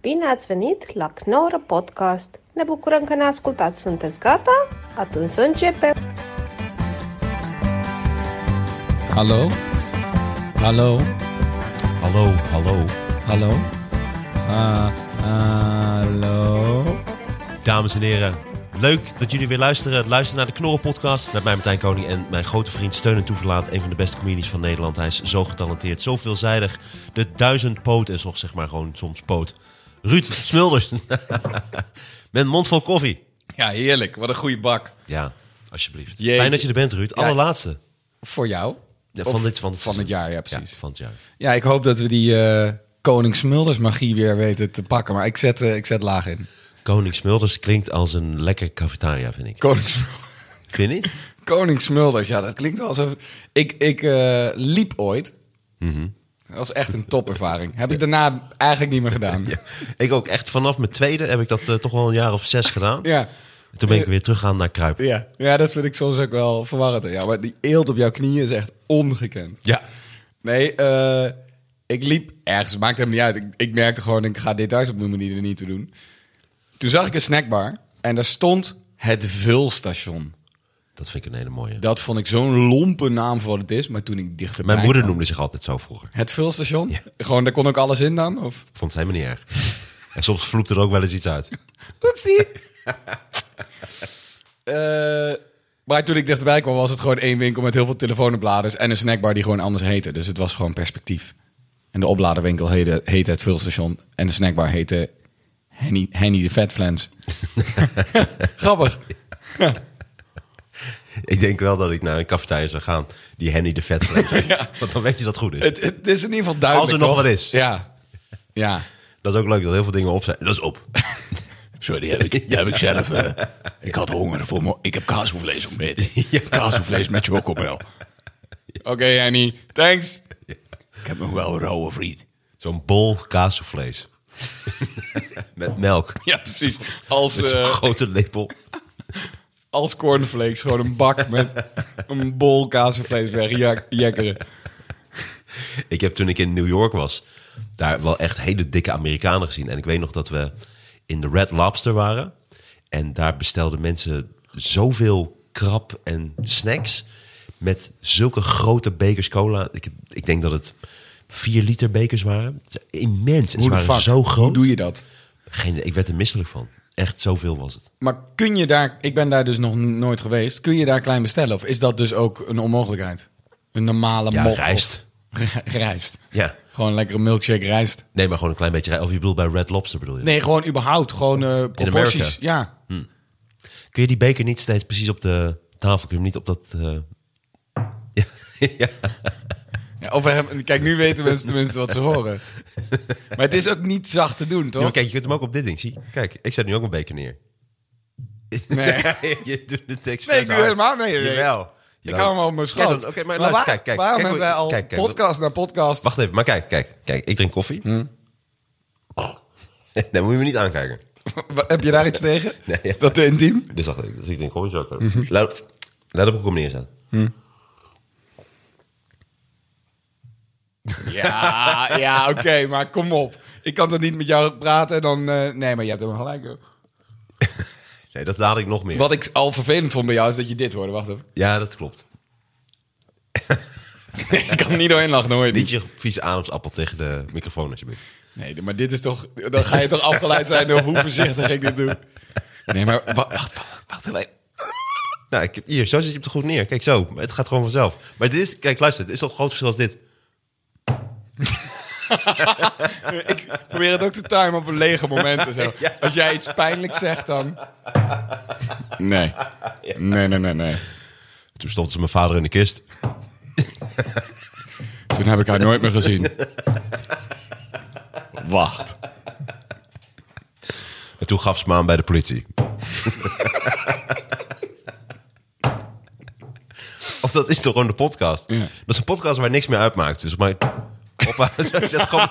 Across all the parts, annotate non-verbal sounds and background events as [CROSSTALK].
Bine ați venit la Knorr Podcast! Ne bucurăm că ne ascultați! Sunteți gata? Atunci să începem! Hallo? Hallo? Hallo, hallo. Hallo? Ah, hallo? Dames en heren, leuk dat jullie weer luisteren. Luister naar de Knorren Podcast met mij, Martijn Koning en mijn grote vriend Steun en Toeverlaat. Een van de beste comedians van Nederland. Hij is zo getalenteerd, zo veelzijdig. De duizendpoot en soms zeg maar gewoon soms poot. Ruud Smulders. [LAUGHS] met een mond vol koffie. Ja, heerlijk. Wat een goede bak. Ja, alsjeblieft. Jeetje. Fijn dat je er bent, Ruud. Allerlaatste. Voor jou? Ja, Of van, dit, van, het, van het seizoen. jaar, ja, precies. Ja, van het jaar. Ja, ik hoop dat we die eh Koning Smulders magie weer weten te pakken. Maar ik zet, eh, ik zet laag in. Koning Smulders klinkt als een lekker cafetaria, vind ik. Koning, Smulders- Vind je niet? [LAUGHS] Koning Smulders, ja, dat klinkt wel alsof... Ik, ik eh, liep ooit. Mhm. Dat was echt een topervaring. Heb ik daarna eigenlijk niet meer [LAUGHS] gedaan. Ja. Ik ook echt vanaf mijn tweede heb ik dat eh, toch wel een jaar of zes gedaan. Ja. Toen ben ik weer teruggegaan naar Kruip. Ja. dat vind ik soms ook wel verwarrend. Ja, maar die eelt op jouw knieën is echt ongekend. Ja. Nee, eh, ik liep ergens. Maakt hem niet uit. Ik, ik merkte gewoon, ik ga details opnoemen die er niet toe doen. Toen zag ik een snackbar en daar stond het vulstation. Dat vind ik een hele mooie. Dat vond ik zo'n lompe naam voor wat het is. Maar toen ik dichterbij Mijn moeder kwam- noemde zich altijd zo vroeger. Het vulstation? Gewoon, daar kon ook alles in dan? Of? Vond ze helemaal niet erg. En soms vloept er ook wel eens iets uit. Oepsie! [LAUGHS] Eh, maar toen ik dichterbij kwam was het gewoon één winkel met heel veel telefoonopladers... en een snackbar die gewoon anders heette. Dus het was gewoon perspectief. En de opladerwinkel heette, heette het vulstation. En de snackbar heette Henny, Henny de [LAUGHS] Vetflens. Grappig. Ik denk wel dat ik naar een cafetaria zou gaan die Henny de [LAUGHS] Vetvlees heeft. Want dan weet je dat het goed is. Het, het is in ieder geval duidelijk, Als er nog toch? wat is. Ja. Ja. Dat is ook leuk dat heel veel dingen op zijn. Dat is op. Sorry, die heb ik, die heb ik zelf. eh, ik had honger voor me. Ik heb kaashoefvlees ontbeten. [LAUGHS] Kaashoefvlees met chocomel. [LAUGHS] Oké, Henny. Thanks. Ik heb nog wel een rauwe friet. Zo'n bol [LAUGHS] kaasvlees. Met melk. Ja, precies. Als, Met zo'n eh, grote lepel. als cornflakes. Gewoon een bak met een bol kaas en vlees wegjekkeren. Ik heb toen ik in New York was, daar wel echt hele dikke Amerikanen gezien. En ik weet nog dat we in de Red Lobster waren. En daar bestelden mensen zoveel krap en snacks. Met zulke grote bekers cola. Ik, heb- ik denk dat het 4 liter bekers waren. Het is Immens. En ze Hoe de waren fuck? zo groot. Hoe doe je dat? Geen, ik werd er misselijk van. Echt zoveel was het. Maar kun je daar, ik ben daar dus nog n- nooit geweest, kun je daar klein bestellen? Of is dat dus ook een onmogelijkheid? Een normale Ja, mok? of- [LAUGHS] rijst. rijst. Ja. Gewoon lekkere milkshake rijst. Nee, maar gewoon een klein beetje. rij- Of je bedoelt bij Red Lobster bedoel je? Nee, gewoon überhaupt. Gewoon eh, proporties. Amerika. Ja. Kun je die beker niet steeds precies op de tafel? Kun je hem niet op dat... eh, Ja. ja. ja. Of we hebben- kijk, nu weten mensen tenminste wat ze [LAUGHS] horen. Maar het is ook niet zacht te doen, Ja, toch? maar kijk, je kunt hem ook op dit ding, zie. Kijk, ik zet nu ook een beker neer. Nee. [LAUGHS] je doet de tekst Nee, vet ik doe hard. helemaal nee, nee. Jawel. Ik hou hem al op mijn Kijk schoot. dan, Oké, maar luister, waar- kijk, kijk. Waarom kijk, hebben wij hoe- al kijk, kijk, wat- podcast Hmm. na podcast? [LAUGHS] Wacht even, maar kijk, kijk, kijk. Ik drink koffie. [LAUGHS] Dan moet je me niet aankijken. Heb je daar iets [LAUGHS] tegen? Nee, ja. Is dat te intiem? Dus dacht ik, dus ik drink koffie zo. Mhm. Laat, laat op hoe ik hem neerzet. Ja, [LAUGHS] ja, oké, maar kom op. Ik kan toch niet met jou praten en dan... eh, nee, maar je hebt helemaal gelijk. hoor. Nee, dat laat ik nog meer. Wat ik al vervelend vond bij jou is dat je dit hoorde. Wacht even. Ja, dat klopt. [LAUGHS] ik kan er niet doorheen lachen, hoor je Niet niet. je vieze ademsappel tegen de microfoon, alsjeblieft. Nee, maar dit is toch... Dan ga je toch afgeleid zijn door hoe voorzichtig ik dit doe. Nee, maar wa- wacht, wacht, wacht even. Nou, ik, hier, zo zit je op de goed neer. Kijk, zo. Het gaat gewoon vanzelf. Maar dit is, kijk, luister. Het is al een groot verschil als dit. Ik probeer het ook te timen op een lege moment en zo. Als jij iets pijnlijks zegt, dan... Nee. Nee, nee, nee, nee. Toen stond ze mijn vader in de kist. Toen heb ik haar nooit meer gezien. Wacht. En toen gaf ze me aan bij de [LAUGHS] politie. of dat is toch gewoon de podcast? Ja. Dat is een podcast waar niks meer uitmaakt. Dus maar... Hoppa, [LAUGHS] ik, zet gewoon,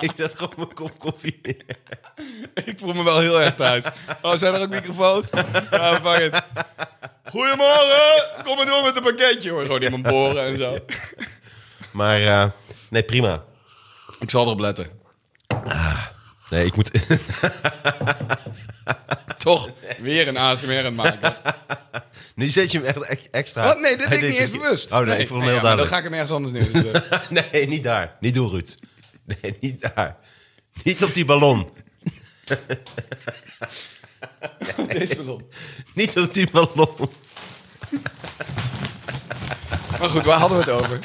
ik zet gewoon mijn kop koffie neer. Ik voel me wel heel erg thuis. Oh, zijn er ook microfoons? Ja, fuck it. Goedemorgen! Kom maar door met een pakketje hoor. Gewoon iemand boren en zo. Maar eh, nee, prima. Ik zal erop letten. Nou, Nee, ik moet... [LAUGHS] [LAUGHS] Toch weer een ASMR aan het [LAUGHS] maken. nu zet je hem echt e- extra... Wat? Oh, Nee, dit Hij deed ik niet deed eens het- bewust. Oh nee, ik vond hem heel ja, maar duidelijk. Dan ga ik hem ergens anders [LAUGHS] neerzetten. [LAUGHS] nee, niet daar. Niet doen, Ruud. Nee, niet daar. Niet op die ballon. Deze ballon. Niet op die ballon. Maar goed, waar hadden we het over? [LAUGHS]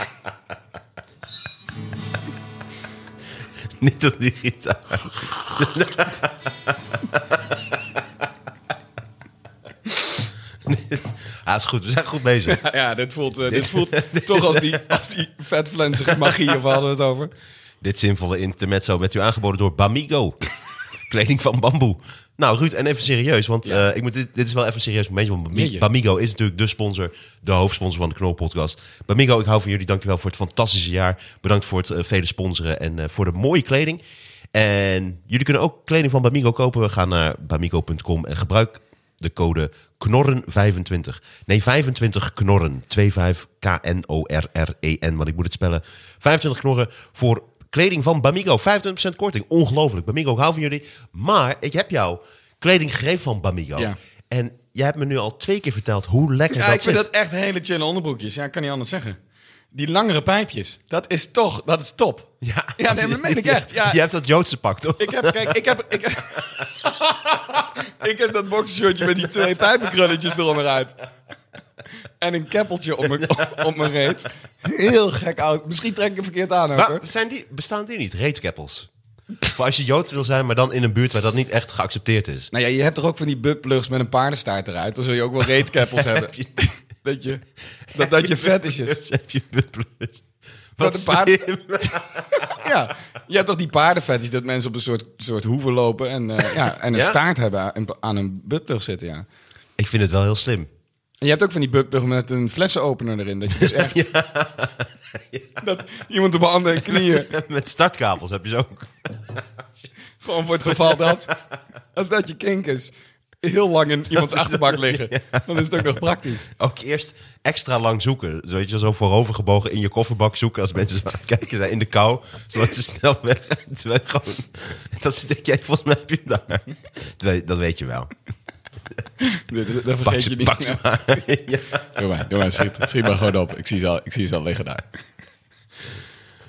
Niet op die gitaar. ah, is goed. We zijn goed bezig. Ja, dit voelt, eh, dit [LAUGHS] voelt toch als die, als die vetvlenzige magie. Of waar hadden we het over? Dit zinvolle intermezzo werd u aangeboden door Bamigo. Kleding van bamboe. Nou, Ruud, en even serieus, want eh, ik moet dit, dit is wel even een serieus momentje. Want Bami- Jeetje. Bamigo is natuurlijk de sponsor, de hoofdsponsor van de Knol-podcast. Bamigo, ik hou van jullie. Dankjewel voor het fantastische jaar. Bedankt voor het eh, vele sponsoren en eh, voor de mooie kleding. En jullie kunnen ook kleding van Bamigo kopen. We gaan naar bamigo.com en gebruik de code KNORREN25. Nee, 25 KNORREN. 25 K-N-O-R-R-E-N, E want ik moet het spellen. 25 KNORREN voor kleding van Bamigo. 25% korting. Ongelooflijk. Bamigo, ik hou van jullie. Maar ik heb jou kleding gegeven van Bamigo. Ja. En jij hebt me nu al twee keer verteld hoe lekker Ja, dat ik vind zit. dat echt hele chille onderbroekjes. Ja, ik kan niet anders zeggen. Die langere pijpjes, dat is toch, dat is top. ja nee, maar dat meen [LAUGHS] ik echt. Ja, Je hebt dat Joodse pak, toch? Ik heb, kijk, ik heb, ik heb, [LAUGHS] ik heb dat boxershortje met die twee pijpenkrulletjes eronder uit. En een keppeltje op mijn, op, op mijn reet. Heel gek oud. Misschien trek ik hem verkeerd aan ook, hoor. Maar zijn die, bestaan die niet? Reetkeppels. Voor als je Joods wil zijn, maar dan in een buurt waar dat niet echt geaccepteerd is. Nou ja, je hebt toch ook van die buttplugs met een paardenstaart eruit. Dan zul je ook wel reetkeppels hebben. Dat je, dat, dat je [LAUGHS] fetishes. Dus heb je plus. Wat een paard- slim. Ja, je hebt toch die paardenfetish dat mensen op een soort, soort hoeven lopen en, eh, ja, en een Ja. staart hebben aan- aan een buttplug zitten, ja. Ik vind het wel heel slim. En je hebt ook van die buttplug met een flessenopener erin. Dat je [LAUGHS] dus echt... Dat iemand op mijn handen en knieën... [LAUGHS] Met startkabels heb je ze ook. Gewoon voor het geval dat... Als dat je kink is... Heel lang in iemands [LAUGHS] achterbak liggen. Dan is het ook nog praktisch. Ook eerst extra lang zoeken. Zo, weet je, zo voorovergebogen in je kofferbak zoeken als mensen zo aan het kijken zijn in de kou. Zodat ze snel weg. Terwijl je gewoon, dat ze denken, jij, volgens mij heb je hem daar. Terwijl, dat weet je wel. Dat, dat- dat Pak vergeet je ze, niet pak ze snel. [LAUGHS] maar. Ja. Doe maar, doe maar. Schiet, schiet maar gewoon op. Ik zie ze al, ik zie ze al liggen daar.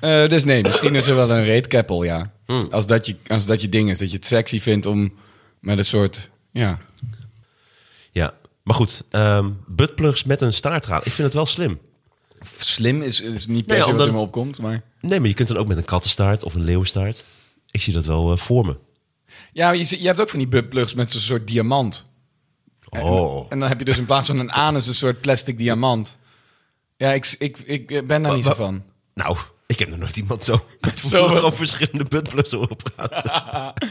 Eh, dus nee, misschien is er wel een reetkeppel, ja. Als, dat je, als dat je ding is. Dat je het sexy vindt om met een soort... Ja, Ja, maar goed. ehm buttplugs met een staartraad. Ik vind het wel slim. slim is, is niet per Nee, se wat omdat in me het- opkomt, maar... Nee, maar je kunt dan ook met een kattenstaart of een leeuwenstaart. Ik zie dat wel eh, voor me. Ja, je, zie- je hebt ook van die buttplugs met zo'n soort diamant. Oh. En dan heb je dus in plaats van een anus een soort plastic diamant. Ja, ik, ik, ik ben daar niet zo wa- van. Nou, ik heb nog nooit iemand zo met [LAUGHS] Zo. zo op verschillende buttplugs op gehad.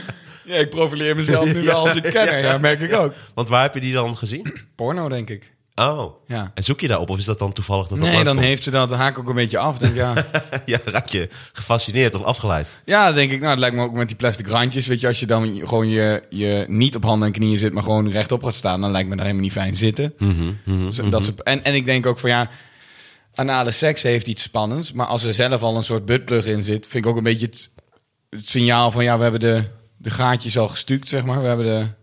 Ja, ik profileer mezelf [LAUGHS] nu wel als een kenner, ja, merk ik ook. Want waar heb je die dan gezien? Porno, denk ik. Oh. Ja. En zoek je daarop? Of is dat dan toevallig dat dat Nee, dan langskomt? heeft ze dat, dan haak ik ook een beetje af. Denk, [LAUGHS] ja. [LAUGHS] ja, dan raak je gefascineerd of afgeleid. ja, dan denk ik, nou, het lijkt me ook met die plastic randjes. Weet je, als je dan gewoon je, je niet op handen en knieën zit, maar gewoon rechtop gaat staan, dan lijkt me dat helemaal niet fijn zitten. Zo- dat soort- en, en ik denk ook van ja, anale seks heeft iets spannends, maar als er zelf al een soort buttplug in zit, vind ik ook een beetje het, het signaal van ja, we hebben de, de gaatjes al gestuukt, zeg maar. We hebben de.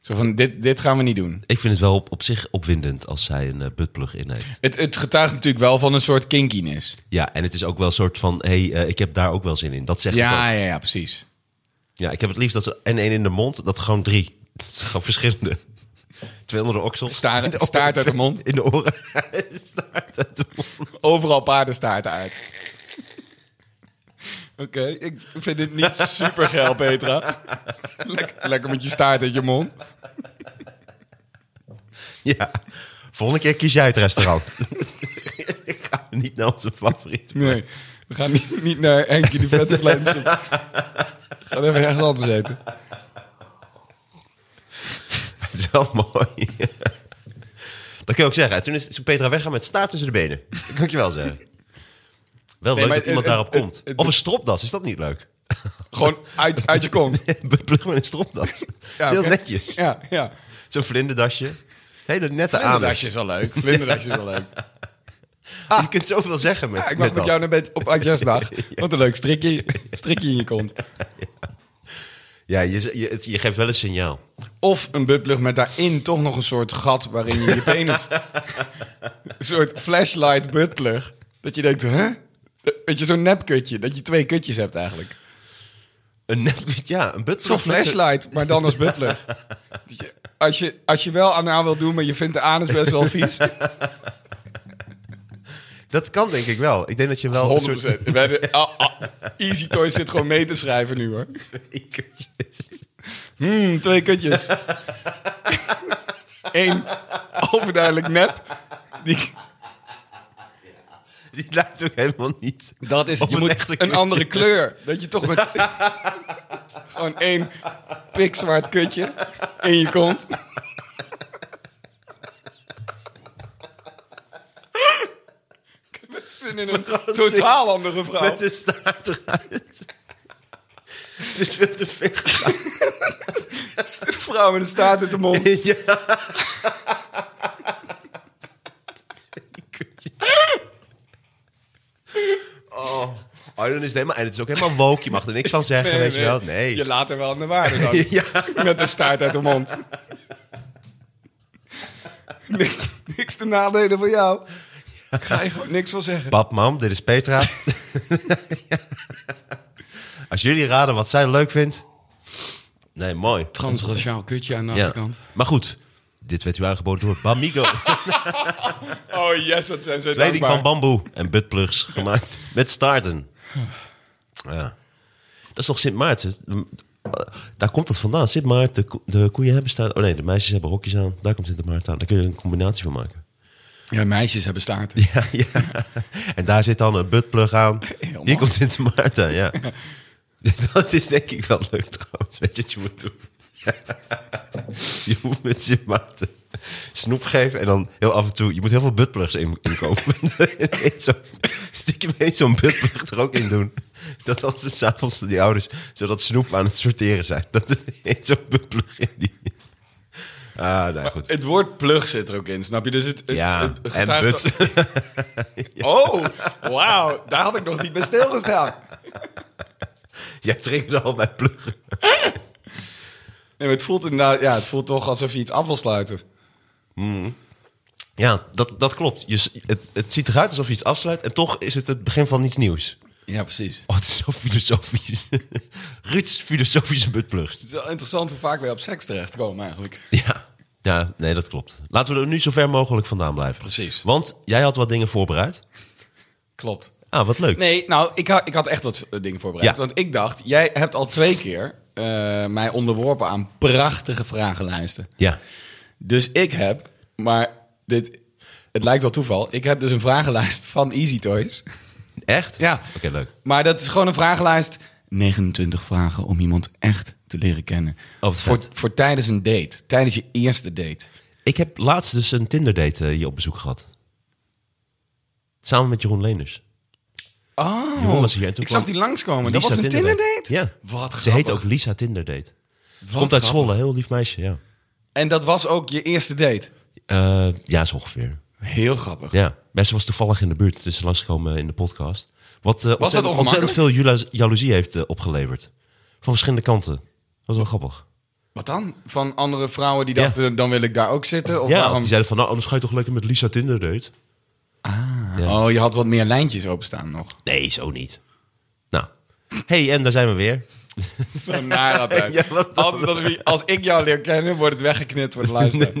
Zo van, dit, dit gaan we niet doen. Ik vind het wel op, op zich opwindend als zij een eh, buttplug in heeft. Het, het getuigt natuurlijk wel van een soort kinkiness. Ja, en het is ook wel een soort van... hé, hey, eh, ik heb daar ook wel zin in. Dat zegt het ook. Ja, ja, ja, precies. Ja, ik heb het liefst dat ze en één in de mond, dat gewoon drie. [LAUGHS] Dat is gewoon verschillende. [LAUGHS] Twee onder de oksel. Staart- [LAUGHS] In oren, staart uit de mond. In de oren. [LAUGHS] staart uit de mond. Overal paardenstaarten uit. [LAUGHS] Oké, ik vind dit niet super geil, Petra. Lekker, lekker met je staart uit je mond. Ja. Volgende keer kies jij het restaurant. [LAUGHS] ik ga niet naar onze favoriet. Nee, we gaan niet, niet naar Henkie de Vette Flens. We [LAUGHS] gaan even ergens anders eten. [LAUGHS] Het is wel mooi. dat kun je ook zeggen. Toen is toen Petra weggaan met staart tussen de benen. Dat kan ik je wel zeggen. Wel Nee, leuk maar dat iemand het- daarop het- komt. het- het- of een stropdas, is dat niet leuk? [LAUGHS] Gewoon uit, uit je kont. Plug met een stropdas. Dat is heel oké. netjes. Ja, ja. Zo'n vlinderdasje. Hele nette anus. Vlinderdasje is wel leuk. Vlinderdasje is wel leuk. Je kunt zoveel zeggen met, Ja, ik met mag met dat. [LAUGHS] jou naar bed op Adjasdag. Wat een leuk strikje, strikje in je kont. Ja, je, z- je, het- je geeft wel een signaal. Of een buttplug met daarin toch nog een soort gat waarin je je penis... een soort flashlight buttplug. Dat je denkt, hè? Weet je, zo'n nepkutje. Dat je twee kutjes hebt eigenlijk. Een nep- [LAUGHS] ja, een butt. Zo'n flashlight, maar dan als buttplug. Dat je- Als je, als je wel aan wil doen, maar je vindt de anus best wel vies. 100%. Dat kan denk ik wel. Ik denk dat je wel een soort [LAUGHS] We hebben- ah, ah, Easy Toys zit gewoon mee te schrijven nu hoor. Hmm, twee kutjes. Eén, overduidelijk nep. Die, [LAUGHS] Die lijkt ook helemaal niet. Dat is Op je een moet echte een kutje. andere kleur. Dat je toch [LAUGHS] met gewoon één pikzwart kutje in je kont. Ik heb echt zin in een totaal andere vrouw. Met de staart eruit. Het is veel te ver gegaan. Een vrouw met een staart uit de mond. [LAUGHS] Ja. Oh. oh, dan is het helemaal... En het is ook helemaal woke. Je mag er niks van zeggen, weet je wel. Nee. Je laat er wel aan de waarde dan. [LAUGHS] Met de staart uit de mond. Niks, niks te nadelen voor jou. Ik ga je gewoon niks van zeggen. Pap, mam, dit is Petra. [LAUGHS] Ja. Als jullie raden wat zij leuk vindt... Nee, mooi. Transraciaal kutje aan de Ja. Maar goed, dit werd u aangeboden door Bamigo. Oh yes, wat zijn ze Kleding dankbaar. van bamboe en buttplugs gemaakt met staarten. Ja. Dat is toch Sint Maarten? Daar komt dat vandaan. Sint Maarten, de, ko- de koeien hebben staart. Oh nee, de meisjes hebben hokjes aan. Daar komt Sint Maarten aan. Daar kun je een combinatie van maken. Ja, meisjes hebben staarten. Ja, ja. En daar zit dan een buttplug aan. Heel Hier mooi. komt Sint Maarten, [LAUGHS] ja. Dat is denk ik wel leuk trouwens. Weet je wat je moet doen? [LAUGHS] Je moet met Sint Maarten snoep geven en dan heel af en toe... Je moet heel veel buttplugs in- inkopen. [LAUGHS] In zo'n- Stiekem in zo'n buttplug er ook in doen. Dat als ze s'avonds die ouders zodat snoep aan het sorteren zijn. Dat is in zo'n buttplug in die... Ah, nou goed. Het woord plug zit er ook in, snap je? Dus het, het, Ja, het en getuigt- but. [LAUGHS] Oh, wauw, daar had ik nog niet bij stilgestaan. Jij triggerde al bij pluggen. Nee, maar het voelt inderdaad, ja, het voelt toch alsof je iets af wil sluiten. Ja, dat, dat klopt. Je, s- het, het ziet eruit alsof je iets afsluit en toch is het het begin van iets nieuws. Ja, precies. Oh, het is zo [LAUGHS] filosofisch. Ruud's filosofische buttplug. Het is wel interessant hoe vaak wij op seks terechtkomen eigenlijk. Ja. ja, nee, dat klopt. Laten we er nu zo ver mogelijk vandaan blijven. Precies. Want jij had wat dingen voorbereid. Klopt. Ah, wat leuk. Nee, nou, ik, ha- ik had echt wat eh, dingen voorbereid. Ja. Want ik dacht, jij hebt al twee keer eh, mij onderworpen aan prachtige vragenlijsten. Ja. Dus ik heb, maar dit, het lijkt wel toeval, ik heb dus een vragenlijst van Easy Toys. Echt? Ja. Oké, leuk. Maar dat is gewoon een vragenlijst. 29 vragen om iemand echt te leren kennen. Oh, wat voor, vet. voor tijdens een date. Tijdens je eerste date. Ik heb laatst dus een Tinder date hier op bezoek gehad. Samen met Jeroen Leners. Oh, Jeroen was hier en toen ik zag kwam die langskomen. Dat Lisa was een Tinder date? Ja. Wat Ze heet ook grappig. Lisa Tinder date. Wat Komt uit grappig. Zwolle, heel lief meisje, ja. En dat was ook je eerste date? Eh, ja, zo ongeveer. Heel grappig. Ja, mensen was toevallig in de buurt, dus langsgekomen in de podcast. Wat eh, ontzettend, ontzettend ongemakkelijk? veel jula- jaloezie heeft eh, opgeleverd. Van verschillende kanten. Dat was wel grappig. Wat dan? Van andere vrouwen die Ja. dachten, dan wil ik daar ook zitten? Of ja, of waarom... die zeiden van, nou, anders ga je toch lekker met Lisa Tinder date? Oh, je had wat meer lijntjes openstaan [LAUGHS] nog. Nee, zo niet. Nou, hey, en daar zijn we weer. [LAUGHS] Zo naar altijd. Ja, wat dan? Altijd als, we- als ik jou leer kennen, wordt het weggeknipt voor de luisteraar.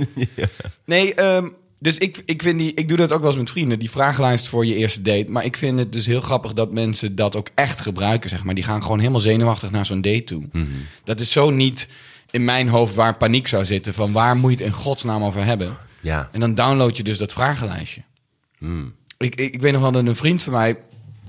Nee, ehm, dus ik, ik, vind die, ik doe dat ook wel eens met vrienden. Die vragenlijst voor je eerste date. Maar ik vind het dus heel grappig dat mensen dat ook echt gebruiken, zeg maar. Die gaan gewoon helemaal zenuwachtig naar zo'n date toe. Dat is zo niet in mijn hoofd waar paniek zou zitten. Van waar moet je het in godsnaam over hebben? Ja. En dan download je dus dat vragenlijstje. Ik, ik, ik weet nog wel dat een vriend van mij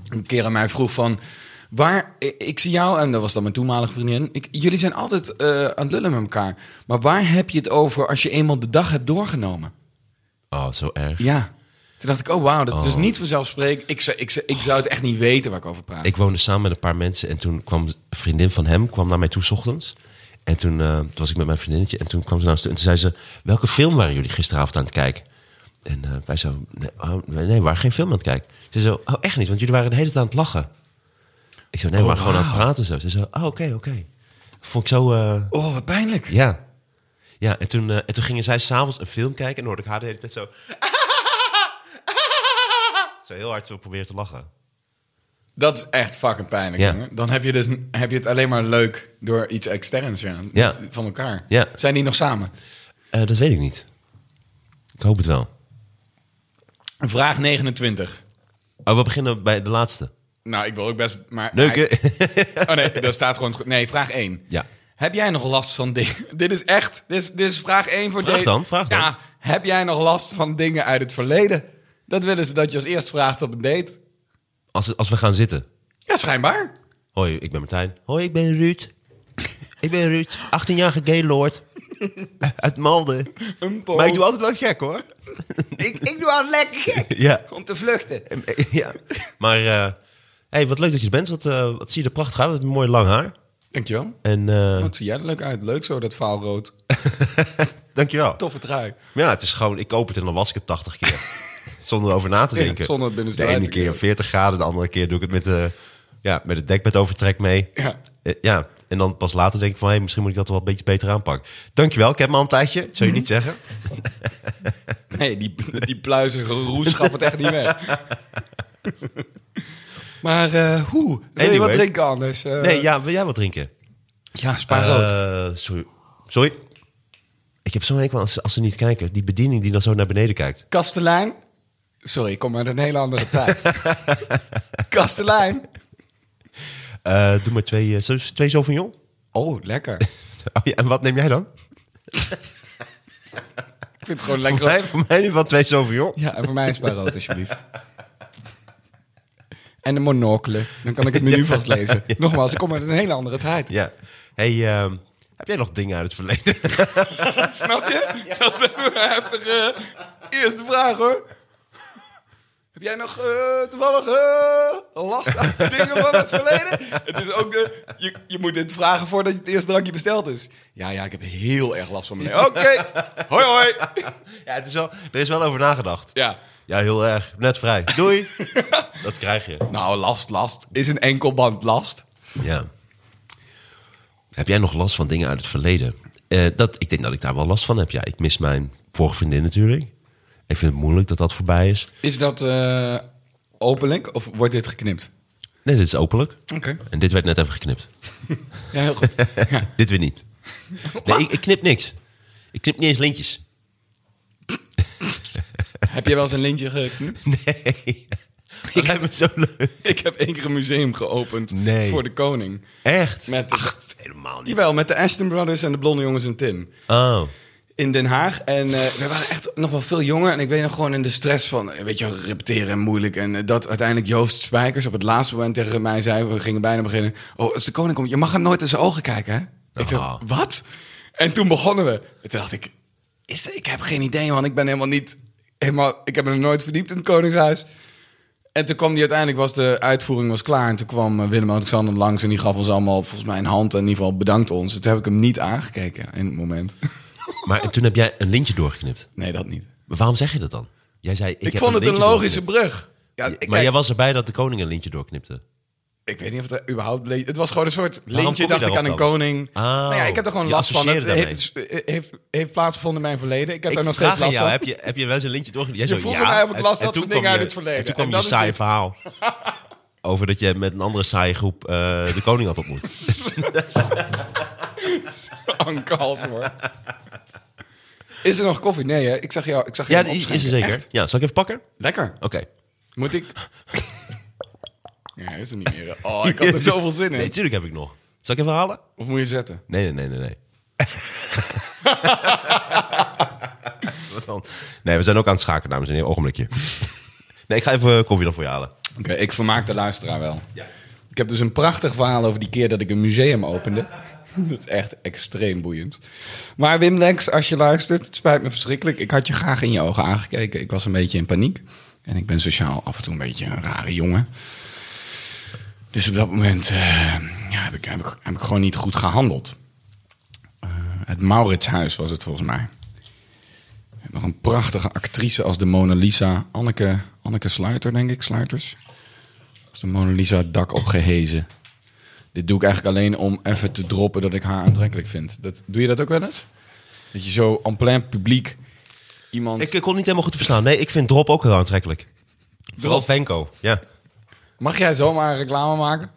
een keer aan mij vroeg van... Waar, ik, ik zie jou, en dat was dan mijn toenmalige vriendin... Ik, jullie zijn altijd eh, aan het lullen met elkaar. Maar waar heb je het over als je eenmaal de dag hebt doorgenomen? Oh, zo erg. Ja. Toen dacht ik, oh wauw, dat is Oh. niet vanzelfsprekend. Ik, zou- ik, zou- ik zou het echt niet weten waar ik over praat. Ik woonde samen met een paar mensen en toen kwam een vriendin van hem kwam naar mij toe 's ochtends. En toen, eh, toen was ik met mijn vriendinnetje en toen kwam ze naar ons toe. En toen zei ze, welke film waren jullie gisteravond aan het kijken? En eh, wij zo, nee, oh, nee, we waren geen film aan het kijken. Ze zo, oh echt niet, want jullie waren de hele tijd aan het lachen. Ik zo, nee, we Oh, waren gewoon aan het wauw. praten zo. Ze zo, oh oké, oké. Vond ik zo... eh, Oh, wat pijnlijk. ja. Ja, en toen, eh, en toen gingen zij s'avonds een film kijken. En dan hoorde ik haar de hele tijd zo... [LAUGHS] zo heel hard zo proberen te lachen. Dat is echt fucking pijnlijk, Ja. jongen. Dan heb je, dus, heb je het alleen maar leuk door iets externs ja, niet Ja. van elkaar. Ja. Zijn die nog samen? Eh, dat weet ik niet. Ik hoop het wel. Vraag 29. Oh, we beginnen bij de laatste. Nou, ik wil ook best... Maar Leuk, hè? Oh nee, daar staat gewoon... het go- Nee, vraag 1. Ja. Heb jij nog last van dingen... [LAUGHS] Dit is echt... Dit is, dit is vraag 1 voor Vraag de- dan, vraag dan. Ja, heb jij nog last van dingen uit het verleden? Dat willen ze dat je als eerst vraagt op een date. [LAUGHS] Als, als we gaan zitten. Ja, schijnbaar. Hoi, ik ben Martijn. Hoi, ik ben Ruud. Ik ben Ruud, 18-jarige gaylord. Eh, Uit Malden. Maar ik doe altijd wel gek, hoor. ik, ik doe aan lekker gek Ja. om te vluchten. ja. Maar, eh, hey, wat leuk dat je er bent. Wat, eh, wat zie je er prachtig uit. Wat een mooi lang haar. Dankjewel. En eh, Wat zie jij er leuk uit. Leuk zo, dat vaalrood. dankjewel. Toffe trui. Ja, het is gewoon, ik koop het en dan was ik het 80 keer. [LAUGHS] zonder over na te Ja, denken. zonder het binnen de te ene laten keer kijken. 40 graden, de andere keer doe ik het met, de, ja, met het dekbed overtrek mee. Ja. Eh, ja. En dan pas later denk ik van, hé, misschien moet ik dat wel een beetje beter aanpakken. Dankjewel, ik heb me al een tijdje. Dat zou je niet Mhm. zeggen. Nee, die, die pluizige roes gaf het echt niet weg. maar eh hoe? Wil je wat Anyway. drinken anders? Eh, Nee, ja, wil jij wat drinken? ja, spaarrood. Eh, sorry. Sorry. Ik heb zo'n hekel als, ze- als ze niet kijken. Die bediening die dan zo naar beneden kijkt. Kastelein. Sorry, ik kom uit een hele andere [LAUGHS] tijd. Kastelein. Eh, doe maar twee, eh, zo- twee Sauvignon. [LAUGHS] Oh, lekker. Oh ja, en wat neem jij dan? Ik vind het gewoon Voor lekker. mij, voor mij in ieder geval twee Sauvignon. Ja, en voor mij een spaarrood, alsjeblieft. En een monocle. Dan kan ik het menu vastlezen. Nogmaals, ik kom uit een hele andere tijd. Ja. Hey, ehm, heb jij nog dingen uit het verleden? [LAUGHS] Snap je? Dat is een heftige eerste vraag hoor. Heb jij nog eh, toevallig eh, last aan dingen van het verleden? Het is ook de, je, je moet dit vragen voordat het eerste drankje besteld is. Ja, ja, ik heb heel erg last van mijn Oké, hoi hoi. ja, het is wel, er is wel over nagedacht. Ja. Ja, heel erg. Net vrij. [LAUGHS] Doei. dat krijg je. Nou, last, last. Is een enkelband last? Ja. Heb jij nog last van dingen uit het verleden? Eh, dat, ik denk dat ik daar wel last van heb. Ja, ik mis mijn vorige vriendin natuurlijk. Ik vind het moeilijk dat dat voorbij is. Is dat eh, openlijk of wordt dit geknipt? Nee, dit is openlijk. Oké. En dit werd net even [LAUGHS] geknipt. Ja, heel goed. [LAUGHS] Ja. Dit weer niet. Nee, ik, ik knip niks. Ik knip niet eens lintjes. Heb jij wel eens een lintje geknipt? Nee. [LAUGHS] Dat lijkt me zo leuk. [LAUGHS] Ik heb één keer een museum geopend Nee. voor de koning. Echt? Met- Ach, helemaal niet. Jawel, met de Ashton Brothers en de Blonde Jongens en Tim. Oh. In Den Haag. En eh, we waren echt nog wel veel jonger. En ik weet nog gewoon in de stress van, eh, weet je, repeteren en moeilijk. En eh, dat uiteindelijk Joost Spijkers op het laatste moment tegen mij zei... We gingen bijna beginnen. Oh, als de koning komt, je mag hem nooit in zijn ogen kijken, hè? Ik zei, Ah. wat? En toen begonnen we. En toen dacht ik, is, ik heb geen idee, man. Ik ben helemaal niet... Helemaal, ik heb me nog nooit verdiept in het koningshuis. En toen kwam die uiteindelijk, was de uitvoering was klaar. En toen kwam eh, Willem-Alexander langs en die gaf ons allemaal volgens mij een hand. En in ieder geval bedankt ons. En toen heb ik hem niet aangekeken in het moment. [LAUGHS] Maar toen heb jij een lintje doorgeknipt. Nee, dat niet. Maar waarom zeg je dat dan? Jij zei, ik, Ik, heb vond het een lintje logische doorgeknipt. brug. Ja, Ja, ik, maar kijk, jij was erbij dat de koning een lintje doorknipte. ik weet niet of het überhaupt... le- Het was gewoon een soort kom lintje, je dacht ik, daarop aan een dan? koning. Oh, nou ja, ik heb er gewoon je last van. Het associeerde heeft, heeft, heeft plaatsgevonden in mijn verleden. Ik heb Ik er nog vraag steeds aan last jou, van. heb je, heb je wel eens een lintje doorgeknipt? Jij Je zo, vroeg ja. aan mij of ik En- last en had toen van kwam dingen uit het je- verleden. En toen En kwam je dat is saai dit. [LAUGHS] verhaal. Over dat je met een andere saaie groep eh, de koning had [LAUGHS] ontmoet. Anke [LAUGHS] Halsmoor. Is er nog koffie? Nee, hè? Ik zag jou. Ik zag ja, jou die is er opschenken. zeker. Echt? Ja, zal ik even pakken? Oké. Lekker. Moet [LAUGHS] ik... Ja, is er niet meer. Oh, ik [LAUGHS] had er zoveel zin Nee, in. tuurlijk heb ik nog. Zal ik even halen? Of moet je zetten? Nee, nee, nee, nee, nee. Wat dan? Nee, we zijn ook aan het schaken, dames en heren. Ogenblikje. Nee, ik ga even eh, koffie dan voor je halen. Oké, ik vermaak de luisteraar wel. Ik heb dus een prachtig verhaal over die keer dat ik een museum opende. [LAUGHS] Dat is echt extreem boeiend. Maar Wim Lex, als je luistert, het spijt me verschrikkelijk. Ik had je graag in je ogen aangekeken. Ik was een beetje in paniek. En ik ben sociaal af en toe een beetje een rare jongen. Dus op dat moment eh, ja, heb, ik, heb, ik, heb ik gewoon niet goed gehandeld. Eh, het Mauritshuis was het volgens mij. We hebben een prachtige actrice als de Mona Lisa. Anneke, Anneke Sluiter, denk ik. Sluiters. Als de Mona Lisa het dak opgehezen. Dit doe ik eigenlijk alleen om even te droppen dat ik haar aantrekkelijk vind. Dat, doe je dat ook wel eens? Dat je zo en plein publiek iemand... Ik, ik kon niet helemaal goed te verstaan. Nee, ik vind drop ook heel aantrekkelijk. Vooral Venko. Ja, Mag jij zomaar reclame maken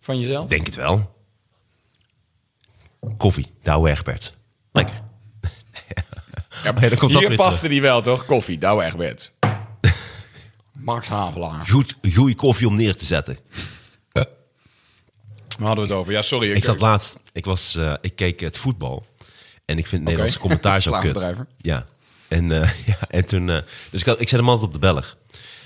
van jezelf? denk het wel. Koffie, Douwe Egbert. Lekker. Ja, maar ja, dan komt dat hier weer paste die wel, toch? Koffie, Douwe [LAUGHS] Egberts. Max Havelaar. Goed, goeie koffie om neer te zetten. Waar hadden we het over? Ja, sorry. Ik zat laatst, ik, was, eh, ik keek het voetbal. En ik vind het Nederlandse commentaar zo kut. Slaafbedrijver. Ja. En, eh, [LAUGHS] ja, en toen... eh, dus ik, had- ik zet hem altijd op de Belg.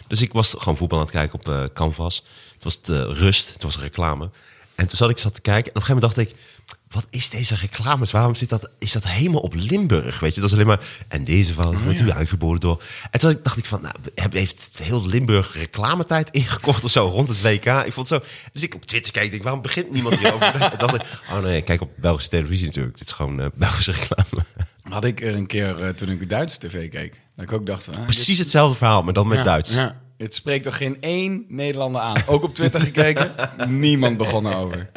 Dus ik was gewoon voetbal aan het kijken op eh, Canvas. Het was de rust, het was reclame. En toen zat ik zat te kijken en op een gegeven moment dacht ik... Wat is deze reclames? Waarom zit dat, is dat helemaal op Limburg? Weet je, dat is alleen maar... En deze van, wordt u aangeboden door... En toen dacht ik van, nou, heb- heeft heel Limburg reclametijd ingekocht of zo rond het WK? Ik vond het zo... Dus ik op Twitter keek, ik denk, waarom begint niemand hierover? en dacht ik, oh nee, ik kijk op Belgische televisie natuurlijk. Dit is gewoon eh, Belgische reclame. Had ik er een keer eh, toen ik Duitse tv keek. Dat ik ook dacht van... ah, dit- Precies hetzelfde verhaal, maar dan met ja, Duits. ja. Het spreekt toch geen één Nederlander aan? Ook op Twitter [LAUGHS] gekeken? Niemand begon erover.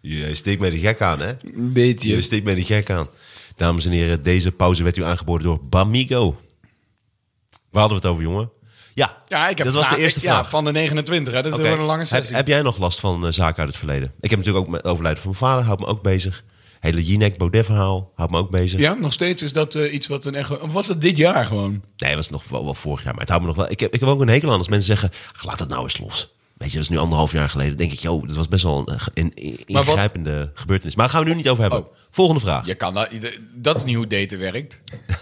Je steekt mij de gek aan, hè? Een beetje. Je steekt mij de gek aan. Dames en heren, deze pauze werd u aangeboden door Bamigo. Waar hadden we het over, jongen? Ja, Ja, ik heb dat was de vragen- eerste ik- vraag. Ja, van de 29, hè? Dat is Oké. wel een lange heb, sessie. heb jij nog last van eh, zaken uit het verleden? Ik heb natuurlijk ook met het overlijden van mijn vader, houdt me ook bezig. Hele Jinek Baudet verhaal, houdt me ook bezig. Ja, nog steeds is dat eh, iets wat een echt... Of was dat dit jaar gewoon? Nee, dat was nog wel, wel vorig jaar, maar het houdt me nog wel... Ik heb, ik heb ook een hekel aan als mensen zeggen, "Ach, laat het nou eens los. Weet je, dat is nu anderhalf jaar geleden. Dan denk ik, joh, dat was best wel een, eh, een- een Maar wat- ingrijpende gebeurtenis. Maar daar gaan we nu niet over hebben. Oh. Volgende vraag. Je kan dat, dat is niet hoe daten werkt. [LAUGHS]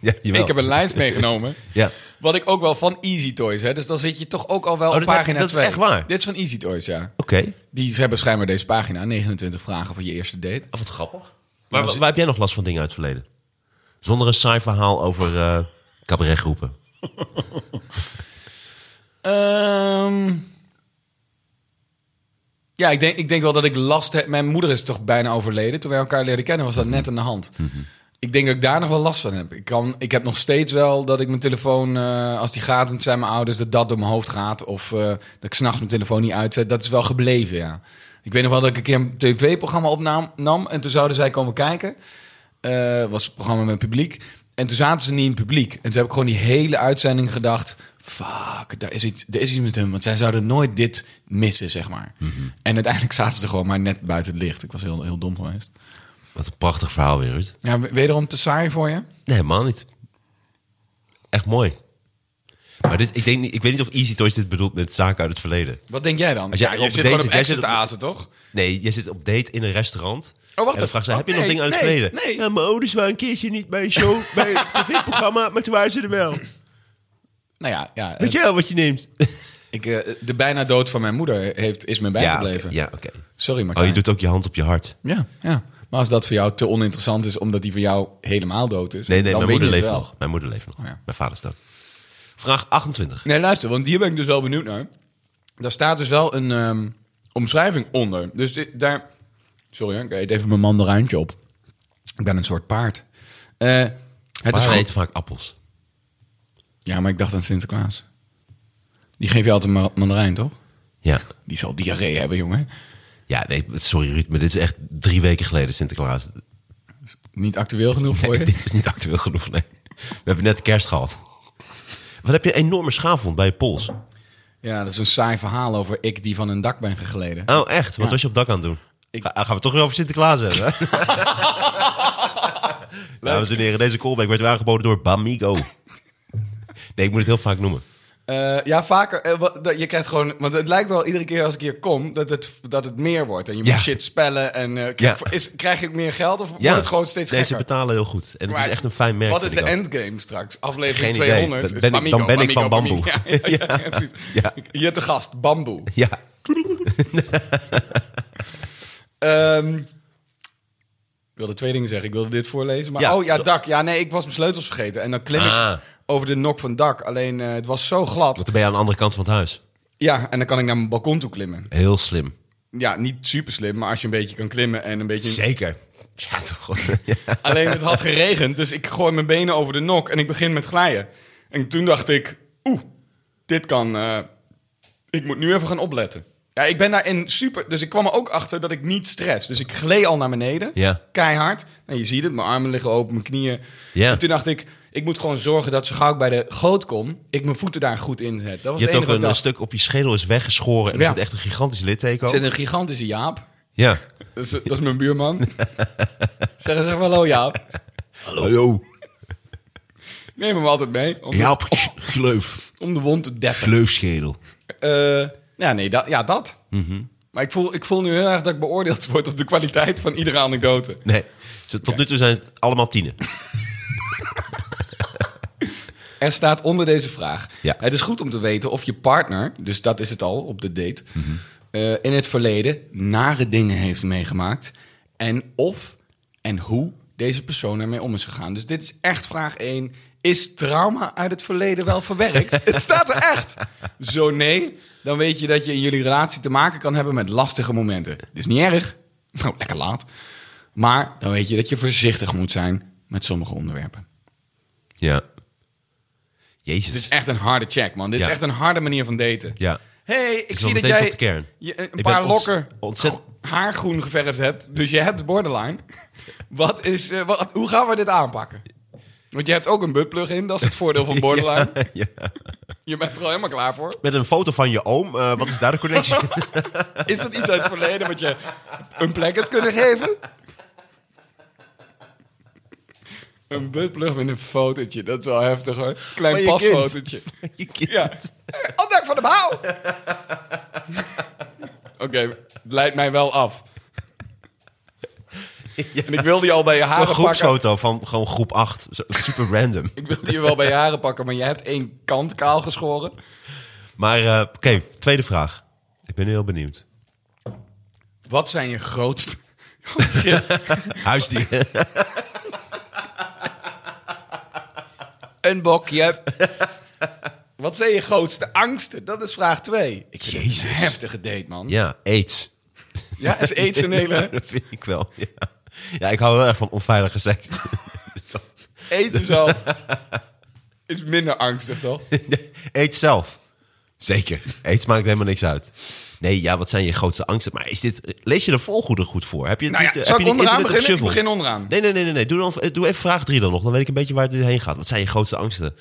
Ja, jawel. Ik heb een [LAUGHS] lijst meegenomen. Ja. Wat ik ook wel van Easy Toys, hè? Dus dan zit je toch ook al wel Oh, op dat heb- pagina dat is 2. echt waar. Dit is van Easy Toys, ja. Oké. Die hebben schijnbaar deze pagina, 29 vragen voor je eerste date. Ah, wat grappig. Maar waar, waar heb jij nog last van dingen uit het verleden? Zonder een saai verhaal over eh, cabaretgroepen. Ehm, ja, ik denk, ik denk wel dat ik last heb. Mijn moeder is toch bijna overleden. Toen wij elkaar leerden kennen was dat net aan de hand. Ik denk dat ik daar nog wel last van heb. Ik, kan, ik heb nog steeds wel dat ik mijn telefoon, eh, als die gaat en het zijn mijn ouders, dat dat door mijn hoofd gaat. Of eh, dat ik s'nachts mijn telefoon niet uitzet. Dat is wel gebleven, ja. Ik weet nog wel dat ik een keer een tv-programma opnam nam, en toen zouden zij komen kijken. Eh, was een programma met publiek. En toen zaten ze niet in het publiek. En toen heb ik gewoon die hele uitzending gedacht... fuck, daar is iets, daar is iets met hun. Want zij zouden nooit dit missen, zeg maar. Mhm. En uiteindelijk zaten ze gewoon maar net buiten het licht. Ik was heel, heel dom geweest. Wat een prachtig verhaal weer, Ruud. Ja, we- wederom te saai voor je? Nee, helemaal niet. Echt mooi. Maar dit, ik, denk, niet- ik weet niet of Easy Toys dit bedoelt met zaken uit het verleden. Wat denk jij dan? Als jij Ja, op je date zit gewoon zit, op jij exit zit te op- azen, toch? Nee, je zit op date in een restaurant. wacht en dan even. vraagt ze, Oh, heb je nog nee, dingen uit het nee, verleden? nee. Ja, mijn ouders waren een keertje niet bij een show, [LAUGHS] bij een tv-programma, maar toen waren ze er wel. Nou ja, ja Weet je wel wat je neemt? ik, eh, de bijna dood van mijn moeder heeft, is me bijgebleven. oké, ja, oké. Sorry, maar. Oh, je doet ook je hand op je hart. Ja, ja. Maar als dat voor jou te oninteressant is, omdat die voor jou helemaal dood is... Nee, nee, dan mijn weet je moeder het leeft wel. nog. Mijn moeder leeft nog. Oh, ja. Mijn vader is dood. Vraag 28. Nee, luister, want hier ben ik dus wel benieuwd naar. Daar staat dus wel een ehm, omschrijving onder. Dus di- daar... Sorry, hè, ik eet even mijn mandarijntje op. Ik ben een soort paard. Eh, het Het is is goed. eten vaak appels. Ja, maar ik dacht aan Sinterklaas. Die geeft je altijd een ma- mandarijn, toch? Ja. Die zal diarree hebben, jongen. Ja, nee, sorry Ruud, maar dit is echt drie weken geleden Sinterklaas. Niet actueel genoeg voor Nee, je. dit is niet actueel genoeg, nee. We hebben net kerst gehad. Wat heb je een enorme schaafwond bij je pols? Ja, dat is een saai verhaal over ik die van een dak ben gegleden. Oh, echt? Wat was je op dak aan het doen? Ga- gaan we het toch weer over Sinterklaas hebben, hè? [LAUGHS] Dames en heren, deze callback werd u aangeboden door Bamigo. Nee, ik moet het heel vaak noemen. Eh, ja, vaker. eh, wat- dat- je krijgt gewoon. Want het lijkt wel iedere keer als ik hier kom dat het, dat het meer wordt. En je Ja. moet shit spellen. En eh, krijg, Ja. voor- is, krijg ik meer geld of Ja, wordt het gewoon steeds deze gekker? betalen heel goed. En het Maar is echt een fijn merk. Wat is vind de ik ook. endgame straks? Aflevering Geen idee. 200. Dan is ben ik- Bamigo, dan ben ik Bamigo, van Bamigo. bamboe. Ja, [LAUGHS] ja, ja, precies. [LAUGHS] Ja. Hier te gast, bamboe. Ja, Ehm, ik wilde twee dingen zeggen. Ik wilde dit voorlezen. Maar Ja. oh ja, dak. Ja, nee, ik was mijn sleutels vergeten. En dan klim Ah. ik over de nok van het dak. Alleen eh, het was zo glad. want dan ben je aan de andere kant van het huis. Ja, en dan kan ik naar mijn balkon toe klimmen. Heel slim. Ja, niet super slim, maar als je een beetje kan klimmen en een beetje. Zeker. Ja, toch. [LAUGHS] Ja. Alleen het had geregend, dus ik gooi mijn benen over de nok en ik begin met glijden. En toen dacht ik, oeh, dit kan. eh, ik moet nu even gaan opletten. Ja, ik ben daarin super. Dus ik kwam er ook achter dat ik niet stress. Dus ik gleed al naar beneden. Ja. Keihard. Nou, je ziet het, mijn armen liggen open, mijn knieën. Ja. En toen dacht ik, ik moet gewoon zorgen dat zo gauw ik bij de goot kom, ik mijn voeten daar goed in zet. Dat was Je het hebt enige ook een, wat ik dacht. stuk op je schedel is weggeschoren. En Ja. er zit echt een gigantisch litteken Er zit op. een gigantische Jaap. Ja. Dat is, dat is mijn buurman. zeg eens even hallo Jaap. Hallo. Hallo. Ik neem hem altijd mee om, Ja, Oh. gleuf. om de wond te deppen. Gleufschedel. Eh, ja, nee, dat, ja, dat. Maar ik voel, ik voel nu heel erg dat ik beoordeeld word op de kwaliteit van iedere anekdote. Nee. Ze- Tot nu toe zijn het allemaal tienen. Er staat onder deze vraag. Ja. Het is goed om te weten of je partner, dus dat is het al op de date, eh, in het verleden nare dingen heeft meegemaakt. En of en hoe deze persoon ermee om is gegaan. Dus dit is echt vraag 1. Is trauma uit het verleden wel verwerkt? het staat er echt. Zo nee, dan weet je dat je in jullie relatie te maken kan hebben met lastige momenten. Dit is niet erg. [LAUGHS] Nou, lekker laat. Maar dan weet je dat je voorzichtig moet zijn met sommige onderwerpen. Ja. Jezus. Dit is echt een harde check, man. Dit is Ja. echt een harde manier van daten. Ja. hey, ik is zie dat wel meteen jij tot de kern. je een Ik paar ben ontz- lokken ontzettend- gro- haargroen geverfd hebt. Dus je hebt borderline. [LAUGHS] wat is, eh, wat, hoe gaan we dit aanpakken? Want je hebt ook een buttplug in. Dat is het voordeel van borderline. [LAUGHS] ja. Je bent er al helemaal klaar voor. Met een foto van je oom. eh, wat is daar de [LAUGHS] connectie? Is dat iets uit het verleden wat je een plek hebt kunnen geven? Een buttplug met een fotootje. Dat is wel heftig hoor. Van Klein je kind. pasfotootje. je kind. Ja. [LAUGHS] Opdak van de bouw. Oké, het leidt mij wel af. En ik wilde je al bij je Een haren pakken. groepsfoto van gewoon groep 8. Super random. Ik wilde je wel bij je haren pakken, maar je hebt één kant kaal geschoren. Maar eh, oké, tweede vraag. Ik ben heel benieuwd. Wat zijn je grootste... [LAUGHS] Huisdieren. Een bokje. Wat zijn je grootste angsten? Dat is vraag twee. Ik vind het een Jezus. heftige date, man. Ja, [LAUGHS] ja, aids. is aids [LAUGHS] een hele... dat vind ik wel. Ja. ja, ik hou heel erg van onveilige seks. [LAUGHS] Aids is al... Is minder angstig, toch? Eet zelf. Zeker. Aids maakt helemaal niks uit. Nee, ja, wat zijn je grootste angsten? Maar is dit, lees je de volgoede goed voor? Heb je het Nou ja, niet, eh, zal heb ik je niet onderaan internet op beginnen? Ik shuffle? begin onderaan. Nee, nee, nee, nee. nee. Doe, dan, eh, doe even vraag drie dan nog. Dan weet ik een beetje waar dit heen gaat. Wat zijn je grootste angsten?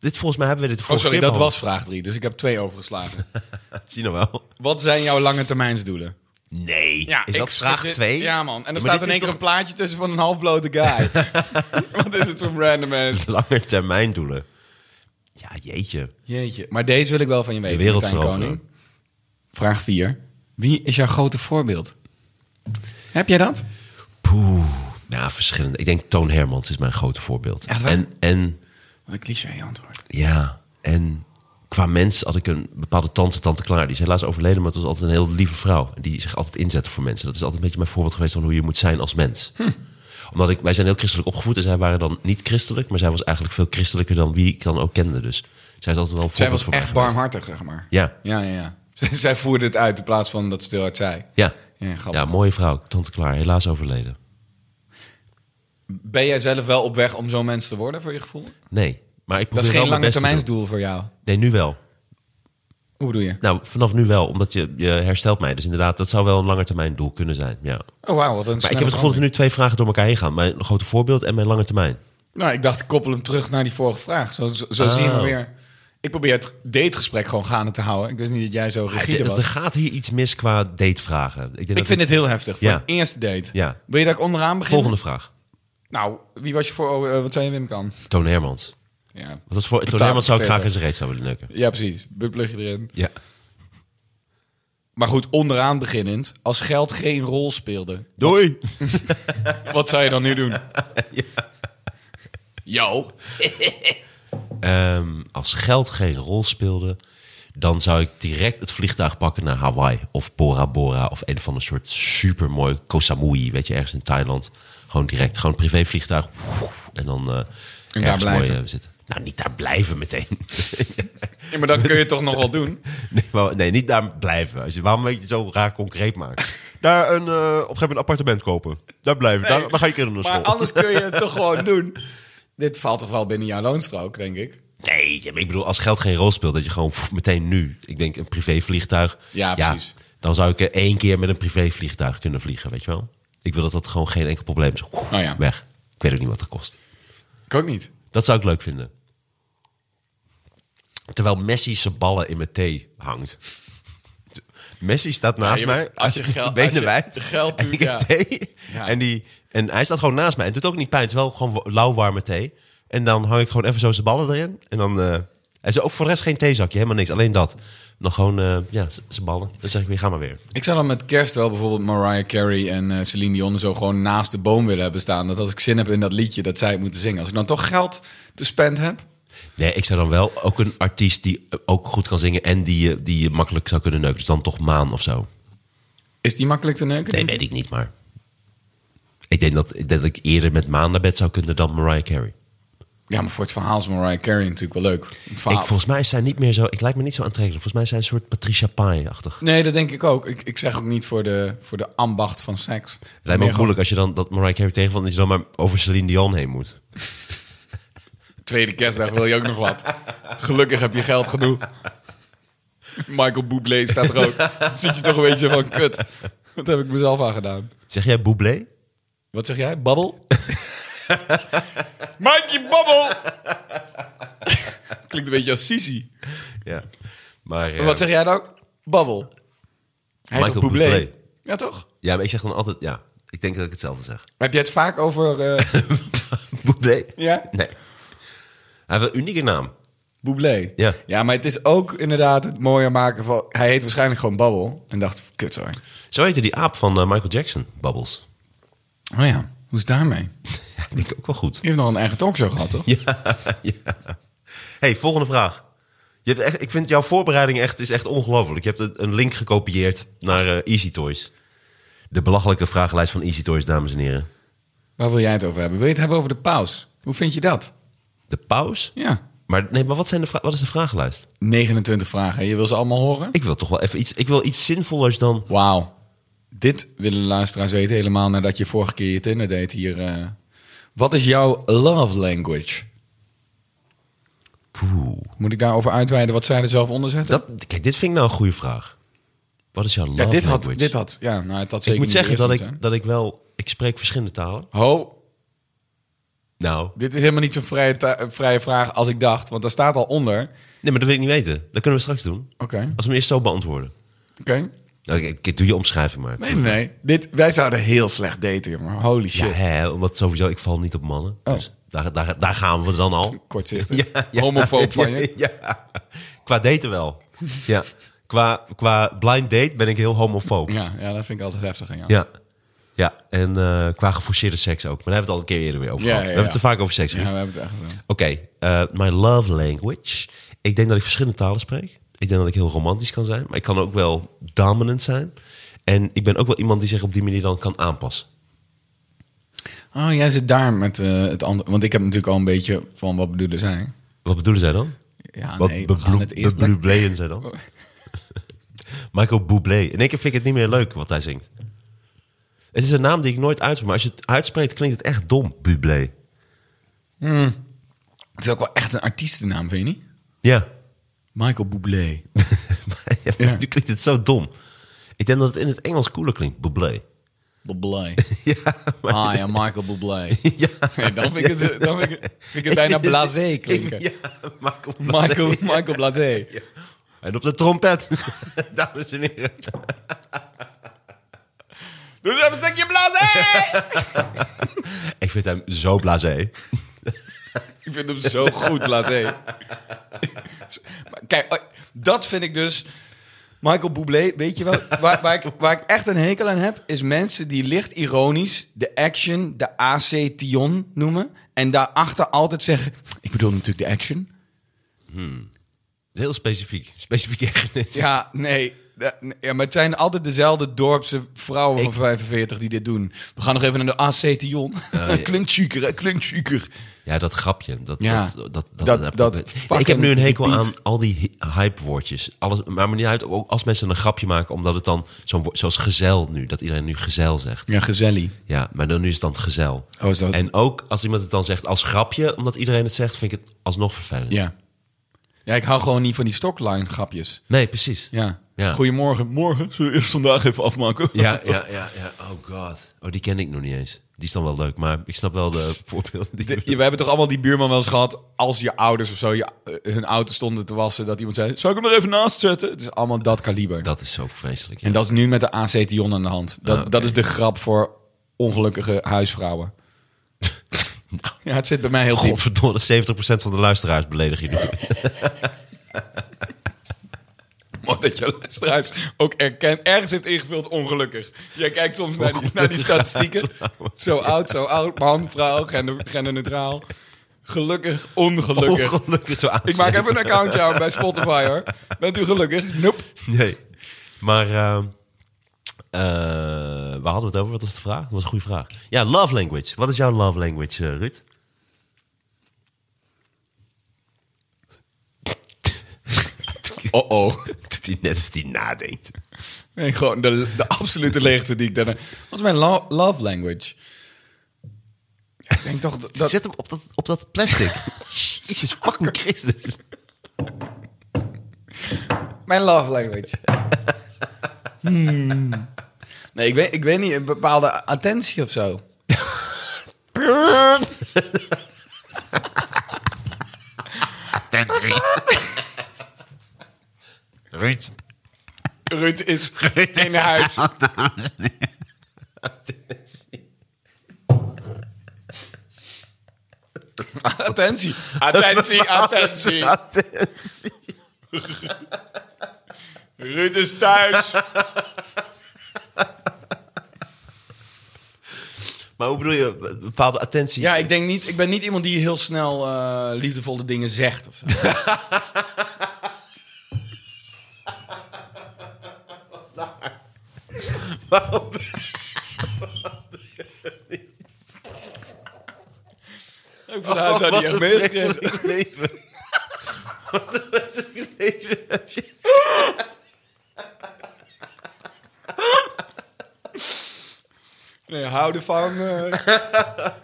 Dit volgens mij hebben we dit de Oh, vorige sorry, keer dat behandeld. was vraag drie. Dus ik heb twee overgeslagen. [LAUGHS] Zie je nou wel? Wat zijn jouw lange termijnsdoelen? Nee. is dat vraag twee? Ja, man. En er Maar staat dit in één is keer toch een plaatje tussen van een halfblote [LAUGHS] guy. Wat is het voor een random ass? Lange termijn doelen. Ja, jeetje. Jeetje. Maar deze wil ik wel van je weten, De wereld Martijn veroveren. Koning. Vraag 4. Wie is jouw grote voorbeeld? Heb jij dat? Poeh. Ja, verschillende. Ik denk Toon Hermans is mijn grote voorbeeld. Echt waar? En, en Wat een cliché antwoord. ja, en qua mens had ik een bepaalde tante, tante Klaar. Die is helaas overleden, maar het was altijd een heel lieve vrouw. En die zich altijd inzette voor mensen. Dat is altijd een beetje mijn voorbeeld geweest van hoe je moet zijn als mens. Hm. Omdat ik, wij zijn heel christelijk opgevoed en zij waren dan niet christelijk. Maar zij was eigenlijk veel christelijker dan wie ik dan ook kende. Dus zij is altijd wel een Zij voorbeeld was voor mij echt geweest. barmhartig, zeg maar. Ja. Ja, ja, ja. [LAUGHS] Z- Zij voerde het uit in plaats van dat stilhard zei. Ja. Ja, grappig. ja, mooie vrouw. Tante Klaar, helaas overleden. Ben jij zelf wel op weg om zo'n mens te worden, voor je gevoel? Nee, maar ik Dat probeer is wel geen lange mijn best te doen. termijnsdoel voor jou. Nee, nu wel. Hoe bedoel je? Nou, vanaf nu wel, omdat je, je herstelt mij. Dus inderdaad, dat zou wel een langetermijn doel kunnen zijn. Ja. Oh, wauw, wat een Maar ik heb het gevoel dat er nu twee vragen door elkaar heen gaan. Mijn grote voorbeeld en mijn lange termijn. Nou, ik dacht, ik koppel hem terug naar die vorige vraag. Zo, zo, zo Oh. zien we weer. Ik probeer het dategesprek gewoon gaande te houden. Ik wist niet dat jij zo Ah, rigide d- was. Er gaat hier iets mis qua datevragen. Ik, denk dat ik vind het heel heftig. Voor Ja. een eerste date. Ja. Wil je dat ik onderaan begin? Volgende vraag. Nou, wie was je voor... oh, eh, wat zei je, Wim Kan? Toon Hermans. Ja, Wat was voor... Toon Betaald Hermans zou ik potato. graag in zijn reet zou willen neuken. ja precies. Buplug je erin. Ja. Maar goed, onderaan beginnend. Als geld geen rol speelde, Doei! wat zou je dan nu [LAUGHS] doen? Yo. Ehm, als geld geen rol speelde, dan zou ik direct het vliegtuig pakken naar Hawaii. Of Bora Bora. Of een van een soort supermooi Koh Samui. Weet je, ergens in Thailand. Gewoon direct. Gewoon een privévliegtuig. En dan eh ergens daar blijven. mooi, eh, zitten. Nou, niet daar blijven meteen. Ja, maar dat kun je toch nog wel doen? nee, maar, nee, niet daar blijven. Als je, waarom weet je het zo raar concreet maakt? Daar een, eh, op een gegeven moment een appartement kopen. Daar blijven. daar, [LAUGHS] dan ga je kinderen naar Maar school. anders kun je het toch gewoon doen? Dit valt toch wel binnen jouw loonstrook, denk ik? Nee, ja, maar ik bedoel, als geld geen rol speelt, dat je gewoon pff, meteen nu. Ik denk een privévliegtuig. Ja, precies. Dan zou ik eh, één keer met een privévliegtuig kunnen vliegen, weet je wel? Ik wil dat dat gewoon geen enkel probleem is. Oeh, Oh ja. Weg. Ik weet ook niet wat het kost. Ik ook niet. Dat zou ik leuk vinden. Terwijl Messi zijn ballen in mijn thee hangt. Messi staat naast je- mij. als je met zijn geld- benen als je wijd. geld en doet, ik heb ja. thee. Ja. En, die, en hij staat gewoon naast mij. En het doet ook niet pijn. Het is wel gewoon wa- lauwwarme thee. En dan hang ik gewoon even zo zijn ballen erin. En dan... eh en ze ook voor de rest geen theezakje, helemaal niks. Alleen dat. Dan gewoon, eh, ja, z- zijn ballen. Dan zeg ik weer, ga maar weer. Ik zou dan met kerst wel bijvoorbeeld Mariah Carey en eh, Celine Dion en zo gewoon naast de boom willen hebben staan. Dat als ik zin heb in dat liedje, dat zij het moeten zingen. Als ik dan toch geld te spend heb. Nee, ik zou dan wel ook een artiest die eh, ook goed kan zingen... en die, je- die je makkelijk zou kunnen neuken. Dus dan toch Maan of zo. Is die makkelijk te neuken? Nee, weet ik niet, maar... Ik denk dat, ik denk dat ik eerder met Maan naar bed zou kunnen dan Mariah Carey. Ja, maar voor het verhaal is Mariah Carey natuurlijk wel leuk. Het verhaal- Ik, volgens mij is zij niet meer zo... Ik lijk me niet zo aantrekkelijk. Volgens mij is zij een soort Patricia Pai-achtig. Nee, dat denk ik ook. Ik, ik zeg ook niet voor de, voor de ambacht van seks. Het lijkt me Meer ook moeilijk als je dan dat Mariah Carey tegenvalt... en dat je dan maar over Celine Dion heen moet. gewoon- Tweede kerstdag wil je ook nog wat. Gelukkig heb je geld genoeg. Michael Bublé staat er ook. Dan zit je toch een beetje van, kut. Wat heb ik mezelf aangedaan? Zeg jij Bublé? Wat zeg jij? Babbel? [LAUGHS] Mikey Babbel! Klinkt een beetje als Sisi. Ja. Maar, eh, Wat zeg jij dan? Babbel. Hij Michael heet toch Bublé? Bublé. Ja, toch? Ja, maar ik zeg dan altijd... Ja, ik denk dat ik hetzelfde zeg. [LAUGHS] Heb jij het vaak over eh [LAUGHS] Bublé? Ja? Nee. Hij heeft een unieke naam. Bublé? Ja. Ja, maar het is ook inderdaad het mooier maken van... Hij heet waarschijnlijk gewoon Babbel. En dacht, kut hoor. Zo heette die aap van eh, Michael Jackson, Bubbles. Oh ja, hoe is daarmee? Ja, ik denk ook wel goed. Je heeft nog een eigen talkshow gehad, toch? [LAUGHS] Hey, volgende vraag. Je hebt echt, ik vind jouw voorbereiding echt, is echt ongelooflijk. Je hebt een- een link gekopieerd naar eh, Easy Toys. De belachelijke vragenlijst van Easy Toys, dames en heren. Waar wil jij het over hebben? Wil je het hebben over de paus? Hoe vind je dat? De paus? Ja. Maar, nee, maar wat, zijn de vra- wat is de vragenlijst? 29 vragen. Je wil ze allemaal horen? Ik wil toch wel even iets, ik wil iets zinvollers dan... Wauw. Dit willen de luisteraars weten helemaal nadat je vorige keer je Tinder deed hier. eh. Wat is jouw love language? Poeh. Moet ik daarover uitweiden wat zij er zelf onder zetten? Dat, kijk, dit vind ik nou een goede vraag. Wat is jouw love ja, dit had, language? dit had. Ja, nou, het had zeker ik moet niet zeggen de dat eerste ik, moeten dat ik wel... Ik spreek verschillende talen. zijn. Ho, Nou, dit is helemaal niet zo'n vrije, ta- eh, vrije vraag als ik dacht, want daar staat al onder. Oké, nee, maar dat wil ik niet weten. Dat kunnen we straks doen. oké. Als we hem eerst zo beantwoorden. Nou, ik- ik doe je omschrijving maar. Nee, nee, nee. Dit, wij zouden heel slecht daten, jongen. Holy Ja, shit. hè, omdat sowieso, ik val niet op mannen. Oh. Dus daar, daar, daar gaan we dan [LAUGHS] al. Kortzichtig. Homofoob van [LAUGHS] je. [LAUGHS] Ja, Qua daten [LAUGHS] wel. Ja. Qua, qua blind date ben ik heel homofoob. Ja. Ja, ja, dat vind ik altijd heftig aan jou. Ja, en eh, qua geforceerde seks ook. Maar daar hebben we het al een keer eerder weer over Ja, gehad. ja, We hebben ja. het er vaak over seks Ja, gehad. we hebben het echt gedaan. Oké, eh, my love language. Ik denk dat ik verschillende talen spreek. Ik denk dat ik heel romantisch kan zijn. Maar ik kan ook wel dominant zijn. En ik ben ook wel iemand die zich op die manier dan kan aanpassen. Oh, jij zit daar met eh, het andere. Want ik heb natuurlijk al een beetje van wat bedoelen zij. Wat bedoelen zij dan? Ja, Wat Ah, nee, we gaan het eerst... lekker- bebloebleën zij [LAUGHS] dan? Michael Bublé. In één keer vind ik het niet meer leuk wat hij zingt. Het is een naam die ik nooit uitspreek. Maar als je het uitspreekt, klinkt het echt dom. Bublé. Het is ook wel echt een artiestennaam, vind je niet? Ja. [LAUGHS] Michael Bublé. Maar ja, Ja. Nu klinkt het zo dom. Ik denk dat het in het Engels cooler klinkt. Bublé. [LAUGHS] Bublé. [LAUGHS] Ja, maar... Hi, I'm Michael Bublé. [LAUGHS] [LAUGHS] Ja. Nee, dan vind ik het, dan vind ik, het- vind ik het [LAUGHS] bijna blasé klinken. Ja, Michael Bublé. [LAUGHS] Michael, Michael Blasé. Ja. En op de trompet. [LAUGHS] Dames en heren. Doe Dus even een stukje blasé! Ik vind hem zo blasé. ik vind hem zo goed, blasé. Maar Kijk, oh, dat vind ik dus... Michael Bublé, weet je wel, waar, waar, ik, waar ik echt een hekel aan heb... is mensen die licht ironisch de action, de AC-tion noemen... en daarachter altijd zeggen... ik bedoel natuurlijk de action... Heel specifiek. Specifiek ergernis. Ja, nee. Da- nee, Ja, maar het zijn altijd dezelfde dorpse vrouwen van 45 die dit doen. We gaan nog even naar de AC Tion. [LAUGHS] klinkt chiquer, hè? klinkt chiquer. Ja, dat grapje. Dat, Ja. dat, Dat- heb ik dat ook niet. fucking ik heb nu een hekel repeat. aan al die hy- hype-woordjes. Alles, maar me niet uit, ook als mensen een grapje maken, omdat het dan zo'n woord- zoals gezel nu, dat iedereen nu gezel zegt. Ja, gezellig. maar dan nu is het dan het gezel. Oh, zo. En ook als iemand het dan zegt als grapje, omdat iedereen het zegt, vind ik het alsnog vervelend. Ja. Ja, ik hou gewoon niet van die stockline grapjes. Nee, precies. Ja. Ja. Goedemorgen. Morgen. Zullen we eerst vandaag even afmaken? Ja, ja, ja, ja. Oh god. Oh, die ken ik nog niet eens. Die is dan wel leuk, maar ik snap [LAUGHS] wel de voorbeelden. Die De- we hebben toch allemaal die buurman wel eens gehad. Als je ouders of zo je, eh, hun auto stonden te wassen. Dat iemand zei: Zou ik hem er even naast zetten? Het is allemaal dat kaliber. Dat is zo vreselijk. Ja. En dat is nu met de acetion aan de hand. Dat, Ah, oké. dat is de grap voor ongelukkige huisvrouwen. [LAUGHS] ja, het zit bij mij heel diep. Godverdomme, 70% van de luisteraars beledig je nu. [LAUGHS] Mooi dat je luisteraars ook erkent. Ergens heeft ingevuld ongelukkig. Jij kijkt soms naar die, naar die statistieken. Zo oud, zo oud. Man, vrouw, gender, genderneutraal. Gelukkig, ongelukkig. Ongelukkig zo aan. Ik maak even een accountje aan bij Spotify hoor. Bent u gelukkig? Nope. [LAUGHS] Nee. Maar ehm, eh, waar hadden we het over? Wat was de vraag? Dat was een goede vraag. Ja, love language. Wat is jouw love language, eh, [LAUGHS] Ruud? Oh oh. Doet hij net of hij nadenkt. Nee, gewoon de, de absolute leegte die ik daarna... Wat is mijn lo- love language? Ik denk toch dat... dat- Zet hem op dat, op dat [LAUGHS] plastic. Jezus fucking Christus. Mijn love language. [LAUGHS] Hmm. Nee, ik weet, ik weet niet. Een bepaalde attentie of zo. Ruud. [LAUGHS] Ruud is in huis. Attentie. [LAUGHS] Attentie, attentie. Ruud is thuis. Maar hoe bedoel je? Een Bepaalde attentie. [LAUGHS] Ja, ik denk niet. Ik ben niet iemand die heel snel eh, liefdevolle dingen zegt of [LAUGHS] zo. Ik van huis uit Oh, Wat niet echt een meegekregen. vreselijk leven. [LAUGHS] Wat een vreselijk leven heb je. Nee, houden van. eh.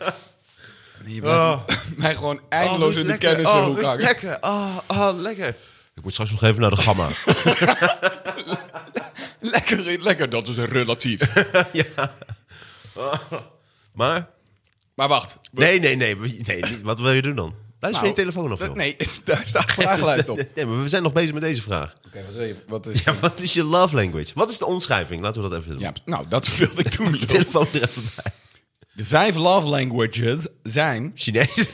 [LAUGHS] nee, je blijft mij gewoon Oh, eindeloos in de kennis oh, hoek Ruud, hangen. Oh, lekker. Oh, oh, lekker. Ik moet straks nog even naar de gamma. Lekker, lekker, dat is relatief. [LAUGHS] Maar? maar wacht. We- Nee, nee, nee. we- nee niet- wat wil je doen dan? Luister je telefoon of joh? Nou, Nee, [LAUGHS] daar staat [LAUGHS] vragenlijst op. Nee, maar we zijn nog bezig met deze vraag. Oké, wat wil je? Wat is... Ja, [LAUGHS] wat is je love language? Wat is de omschrijving? Laten we dat even doen. [LAUGHS] Ja, nou, dat wilde ik [LAUGHS] doen. Je telefoon er even bij. De vijf love languages zijn... Chinees.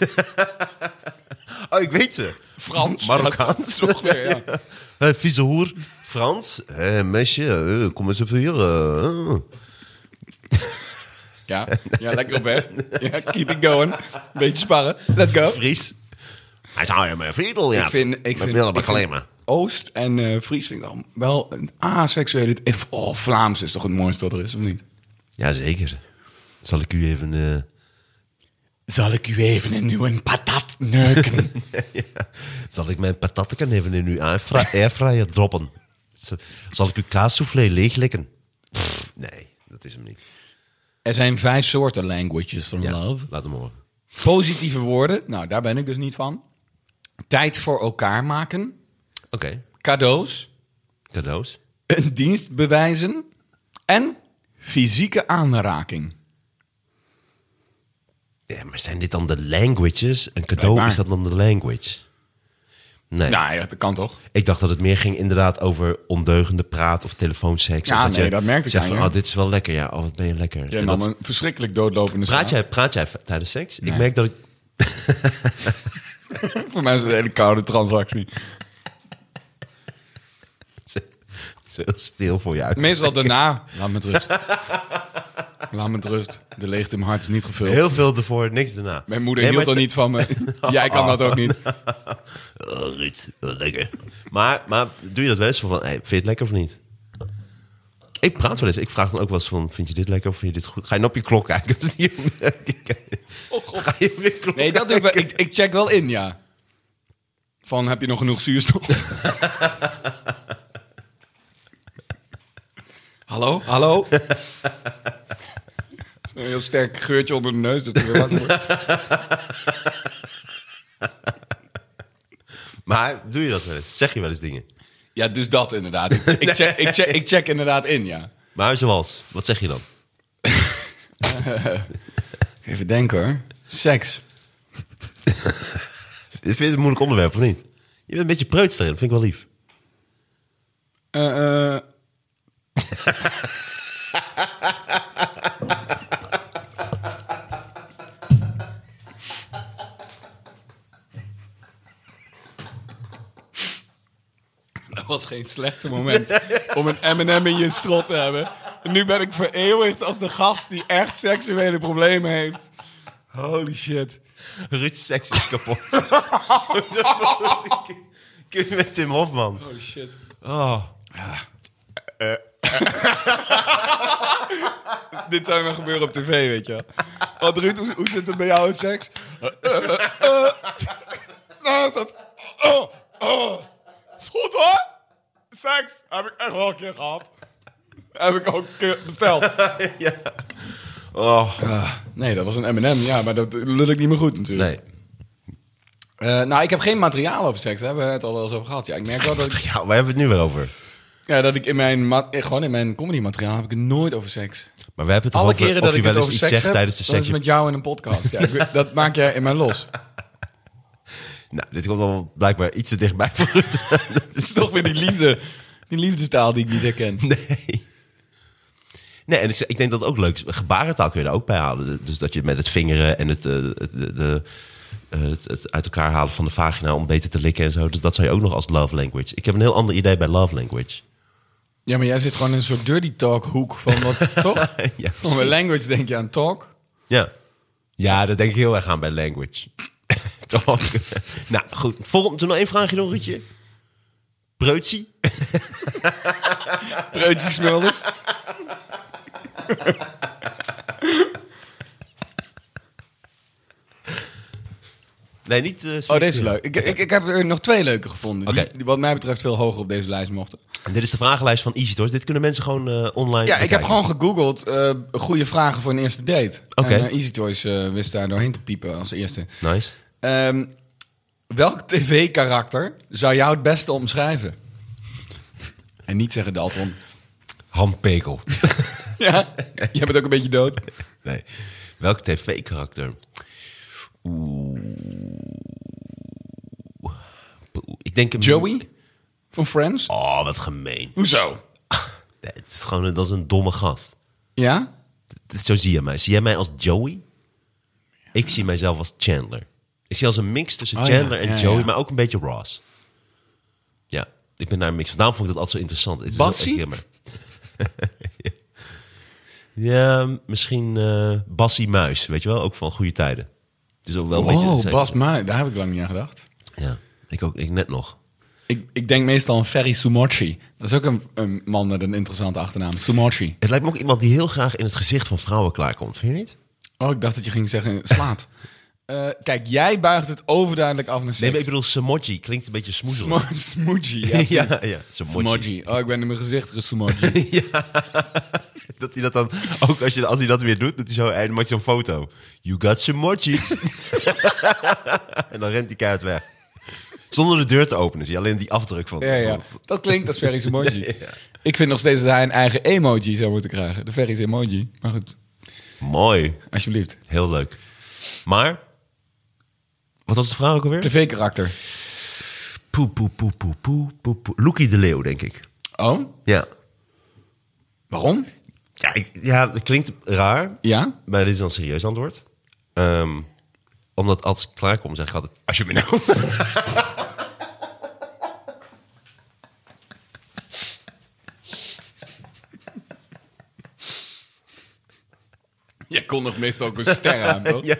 [LAUGHS] oh, ik weet ze. Frans. [LAUGHS] Marokkaans. Toch weer, ja. [LAUGHS] Hé, vieze hoer. Frans. Hé, meisje. eh, kom eens even hier. eh. Oh. Ja, ja lekker op weg. Ja, keep it going. Beetje sparren. Let's go. Fries. Hij zou je mijn vriendel, ja. Ik vind- ik Mijn vind- billen ik vind- beklemmen. Oost en eh Fries vind ik dan wel een aseksuele... If, oh, Vlaams is toch het mooiste wat er is, of niet? Jazeker. Zal ik u even... eh, Zal ik u even een nieuwe patat [LAUGHS] neuken? Zal ik mijn patatten even in uw airfry- airfryer droppen? Z- Zal ik uw kaassoufflé leeglikken? Pff, nee, dat is hem niet. er zijn vijf soorten languages van Ja, love. Laat hem horen. Positieve woorden. Nou, daar ben ik dus niet van. Tijd voor elkaar maken. Oké, Cadeaus. cadeaus. Een dienst bewijzen. En fysieke aanraking. Ja, maar zijn dit dan de languages? Een cadeau, Blijkbaar. is dat dan de language? Nee, Nou ja, dat kan toch? ik dacht dat het meer ging inderdaad over ondeugende praat of telefoonseks. Ja, of dat nee, je dat merkte ik zegt aan van, je. oh, dit is wel lekker. Ja, oh, wat ben je lekker. Jij En nam dat- een verschrikkelijk doodlopende praat, straat. jij, praat jij v- tijdens seks? Ik merk dat ik... [LAUGHS] Voor mij is het een hele koude transactie. Het is heel stil voor je uit. [LAUGHS] Meestal daarna. Laat me met rust. Laat me met rust. De leegte in mijn hart is niet gevuld. Heel veel ervoor, niks daarna. Mijn moeder Nee, hield maar er niet van me. [LAUGHS] Jij kan dat ook niet. Oh, Ruud, wat lekker. Maar, maar doe je dat wel eens van, hey, vind je het lekker of niet? Ik praat wel eens. Ik vraag dan ook wel eens van, vind je dit lekker of vind je dit goed? Ga je nou op je klok kijken? [LAUGHS] Als die- die- Ga je weer klok Oh, Nee, dat doe ik wel. Ik, ik check wel in, ja. Van, heb je nog genoeg zuurstof? [LAUGHS] hallo, hallo? [LAUGHS] Zo'n heel sterk geurtje onder de neus dat hij weer wakker wordt. Maar doe je dat wel eens? Zeg je wel eens dingen? Ja, dus dat inderdaad. Ik, ik, check, ik, check, ik check inderdaad in, ja. Maar zoals, wat zeg je dan? Even denken hoor. Seks. Vind je het een moeilijk onderwerp of niet? Je bent een beetje preuts daarin, vind ik wel lief. Eh, eh. [LAUGHS] Dat was geen slechte moment om een M&M in je strot te hebben. Nu ben ik vereeuwigd als de gast die echt seksuele problemen heeft. Holy shit. Ruud seks is kapot. [LAUGHS] Kun je met Tim Hofman? Holy shit. Ah. Eh, Oh. [LAUGHS] Dit zou maar gebeuren op tv, weet je wel. Wat Ruud, hoe, hoe zit het bij jou in seks? Eh, eh, eh, eh. Nou, is dat... Oh, oh. Is goed hoor. Seks heb ik echt wel een keer gehad. Heb ik ook een keer besteld. Oh. Nee, dat was een M&M, ja, maar dat lul ik niet meer goed natuurlijk. Nee. Eh, nou, ik heb geen materiaal over seks, daar hebben we het al wel eens over gehad. Ja, ik merk wel dat ik, Ja, waar hebben we het nu weer over? ja, dat ik in mijn, ma- eh, gewoon in mijn comedy materiaal heb ik het nooit over seks. Maar we hebben het Alle over keren of dat je ik wel het eens over iets seks zegt heb, tijdens de dat is seks. met jou in een podcast. Ja, ik weet- dat maak jij in mij [LAUGHS] los. Nou, dit komt wel blijkbaar iets te dichtbij voor Ruud. [LAUGHS] Dat Het is toch weer die liefde. Die liefdestaal die ik niet herken. Nee. Nee, en ik, ik denk dat het ook leuk is. Gebarentaal kun je daar ook bij halen. Dus dat je met het vingeren en het, eh, het, de- de- eh, het, het uit elkaar halen van de vagina om beter te likken en zo. Dus dat zou je ook nog als love language. Ik heb een heel ander idee bij love language. [LAUGHS] Ja, maar jij zit gewoon in een soort dirty talk hoek van [LAUGHS] wat, toch? Ja, van mijn language denk je aan talk. Ja. Ja, daar denk ik heel erg aan bij language. [LAUGHS] Toch? nou, goed. Volgende, toen nog één vraagje nog, Ruudje. Preutsie? Preutjes Smulders. Nee, niet... eh, Oh, deze is selecteren. leuk. Ik, ik, ik heb er nog twee leuke gevonden. Die, Oké. die wat mij betreft veel hoger op deze lijst mochten. En dit is de vragenlijst van Easy Toys. Dit kunnen mensen gewoon eh, online Ja, ik heb bekijken. gewoon gegoogeld eh, goede vragen voor een eerste date. Oké. En eh, Easy Toys eh, wist daar doorheen te piepen als eerste. Nice. Ehm, welk tv-karakter zou jou het beste omschrijven? En niet zeggen Dalton. Handpekel. [LAUGHS] Ja, jij bent ook een beetje dood. Nee. Welk tv-karakter? Oeh. Poeh. Ik denk... een- Joey van Friends. Oh, wat gemeen. Hoezo? Nee, het is gewoon, een- dat is een domme gast. Ja? Dit- Zo zie je mij. Zie jij mij als Joey? Ik zie mijzelf als Chandler. Ik zie als een mix tussen Oh, ja. Chandler en Ja, ja. Joey, maar ook een beetje Ross. Ja, ik ben daar een mix van. Daarom vond ik dat altijd zo interessant. Het is heel Bassie? erg jammer. [LAUGHS] ja, misschien eh Bassie Muis, weet je wel? Ook van goede tijden. Het is ook wel een beetje... Wow, zij- Oh, Bas Muis, daar heb ik lang niet aan gedacht. Ja, ik ook. Ik net nog. Ik, ik denk meestal aan Ferry Sumochi. Dat is ook een, een man met een interessante achternaam. Sumochi. Het lijkt me ook iemand die heel graag in het gezicht van vrouwen klaarkomt. Vind je niet? Oh, ik dacht dat je ging zeggen [LAUGHS] slaat. Eh, kijk, jij buigt het overduidelijk af naar seks. Nee, maar ik bedoel, Samoji klinkt een beetje smoezelig. Smo- Smoochie, ja, precies. [LAUGHS] ja, ja, Samoji. Smoochie. Oh, ik ben in mijn gezicht [LAUGHS] gesmoochie. Dat hij dat dan, ook als, je, als hij dat weer doet, doet hij zo, en dan maakt hij zo'n foto. You got some mochis. [LAUGHS] en dan rent die kaart weg. Zonder de deur te openen, zie je alleen die afdruk van. ja, ja. Dat klinkt als Ferry's [LAUGHS] emoji. Ik vind nog steeds dat hij een eigen emoji zou moeten krijgen. De Ferry's emoji. Maar goed, Mooi, alsjeblieft. heel leuk. Maar, wat was de vraag ook alweer? TV-karakter. Poe, poe, poe, poe, poe, poe, poe. Loekie de Leeuw, denk ik. Oh, Ja. waarom? Ja, ik- ja, dat klinkt raar, Ja? maar dit is dan een serieus antwoord. Ehm, omdat als ik klaarkom, zeg ik altijd, als je me nou... Jij kon nog meestal ook een ster aan, [LAUGHS] toch? [LAUGHS]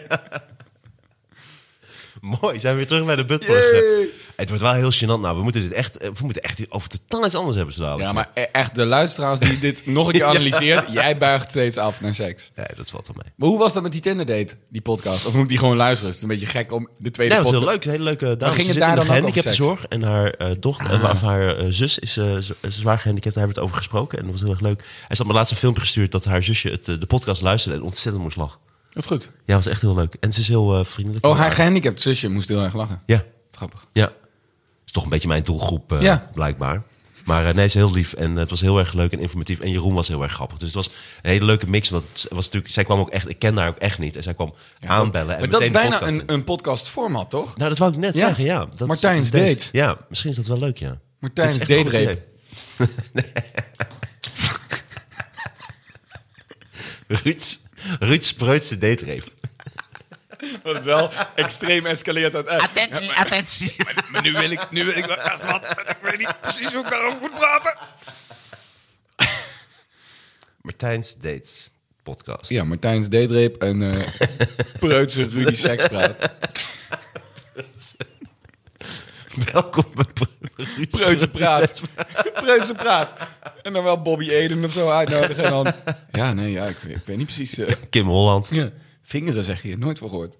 Mooi, zijn we weer terug bij de buttplug. Het wordt wel heel gênant. Nou, we moeten dit echt, eh, we moeten echt over totaal iets anders hebben zo dadelijk. Ja, maar e- echt, de luisteraars die dit nog [LAUGHS] een keer analyseert, jij buigt steeds af naar seks. Nee, dat valt wel mee. Maar hoe was dat met die Tinder date, die podcast? Of moet ik die gewoon luisteren? Het is een beetje gek om de tweede Nee, dat was podcast... heel leuk. Een hele leuke dame. ging Ze het zit daar in de dan ook over Ah. gehandicaptenzorg en haar eh, dochter, eh, of haar eh, zus is eh, z- zwaar gehandicapt. Daar hebben we het over gesproken en dat was heel erg leuk. Hij had me laatst een filmpje gestuurd dat haar zusje het, eh, de podcast luisterde en ontzettend moest lachen. Dat is goed. Ja, was echt heel leuk. En ze is heel eh, vriendelijk. Oh, haar gehandicapt zusje moest heel erg lachen. Ja, Grappig. ja. Is toch een beetje mijn doelgroep eh, Ja. blijkbaar. Maar eh, nee, ze is heel lief en eh, het was heel erg leuk en informatief. En Jeroen was heel erg grappig. Dus het was een hele leuke mix. Want het was natuurlijk, zij kwam ook echt, ik ken haar ook echt niet. En zij kwam aanbellen. En maar dat is meteen bijna de podcast een, in. een podcast-format, toch? Nou, dat wou ik net Ja. zeggen, ja. Dat is- Martijn's dat is- date. Ja, misschien is dat wel leuk, ja. Martijn's Dat is echt een date goed rape. idee. [LAUGHS] Ruud's, Ruud's spreutse date rape. Wat het wel extreem escaleert uit Attentie, attentie. Maar nu wil ik, nu wil ik wel echt wat. Ik weet niet precies hoe ik daarover moet praten. Martijn's dates podcast. Ja, Martijn's datereep en eh preutse Rudy sekspraat. Welkom bij Pre- [LAUGHS] Ruud's Preutse praat. Preutse praat. En dan wel Bobby Eden of zo uitnodigen. En dan... Ja, nee, ja, ik, weet- ik weet niet precies. eh, Kim Holland. [LAUGHS] ja. Vingeren zeg je, nooit van gehoord.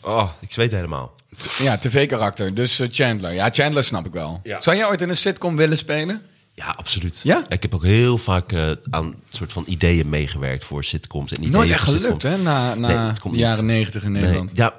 Oh, ik zweet helemaal. Ja, tv-karakter. Dus eh, Chandler. Ja, Chandler snap ik wel. Ja. Zou jij ooit in een sitcom willen spelen? Ja, absoluut. Ja? Ik heb ook heel vaak eh, aan soort van ideeën meegewerkt voor sitcoms en ideeën Nooit echt voor gelukt, sitcoms. hè? Na, Nee, na het komt de niet. jaren negentig in Nederland. Nee, ja,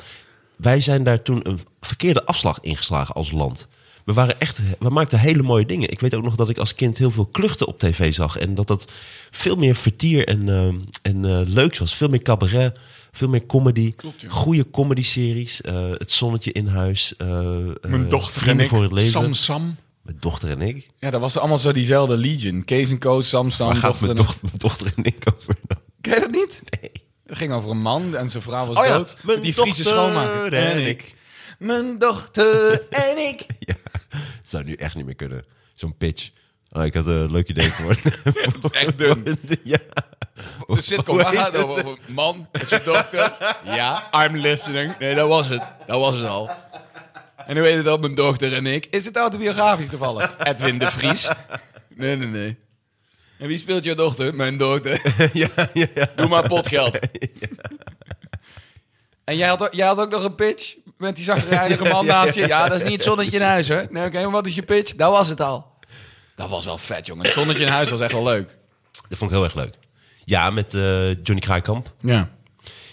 wij zijn daar toen een verkeerde afslag ingeslagen als land. We, waren echt, we maakten hele mooie dingen. Ik weet ook nog dat ik als kind heel veel kluchten op tv zag. En dat dat veel meer vertier en, ehm, en eh, leuks was. Veel meer cabaret, veel meer comedy. Goede comedy-series. eh, het zonnetje in huis. eh, eh, Vrienden voor het leven. Sam Sam. Mijn dochter en ik. Ja, dat was allemaal zo diezelfde Legion. Kees en Co, Sam Sam. Waar gaat dochter mijn en- dochter, mijn dochter en ik over dan? [LAUGHS] Ken je dat niet? Nee. Het ging over een man en zijn vrouw was Oh ja, dood. mijn die Friese dochter schoonmaker. en ik. Mijn dochter en ik. Ja, het zou nu echt niet meer kunnen. Zo'n pitch. Ah, ik had een leuk idee voor. [LAUGHS] [LAUGHS] Dat is echt dun. ja. De sitcom, waar gaat het over? Over een Man, met zijn dochter. Ja, I'm listening. Nee, dat was het. Dat was het al. En nu weet het al, mijn dochter en ik. Is het autobiografisch toevallig? Edwin de Vries. Nee, nee, nee. En wie speelt je dochter? Mijn [LAUGHS] dochter. ja, ja, ja. Doe maar [LAUGHS] potgeld. En jij had, ook- jij had ook nog een pitch met die zagrijnige man naast je. [LAUGHS] Ja, dat is niet het zonnetje in huis, hè? Nee, oké, maar wat is je pitch? Dat was het al. Dat was wel vet, jongen. Het zonnetje in huis was echt wel leuk. Dat vond ik heel erg leuk. Ja, met eh, Johnny Kraaikamp. Ja.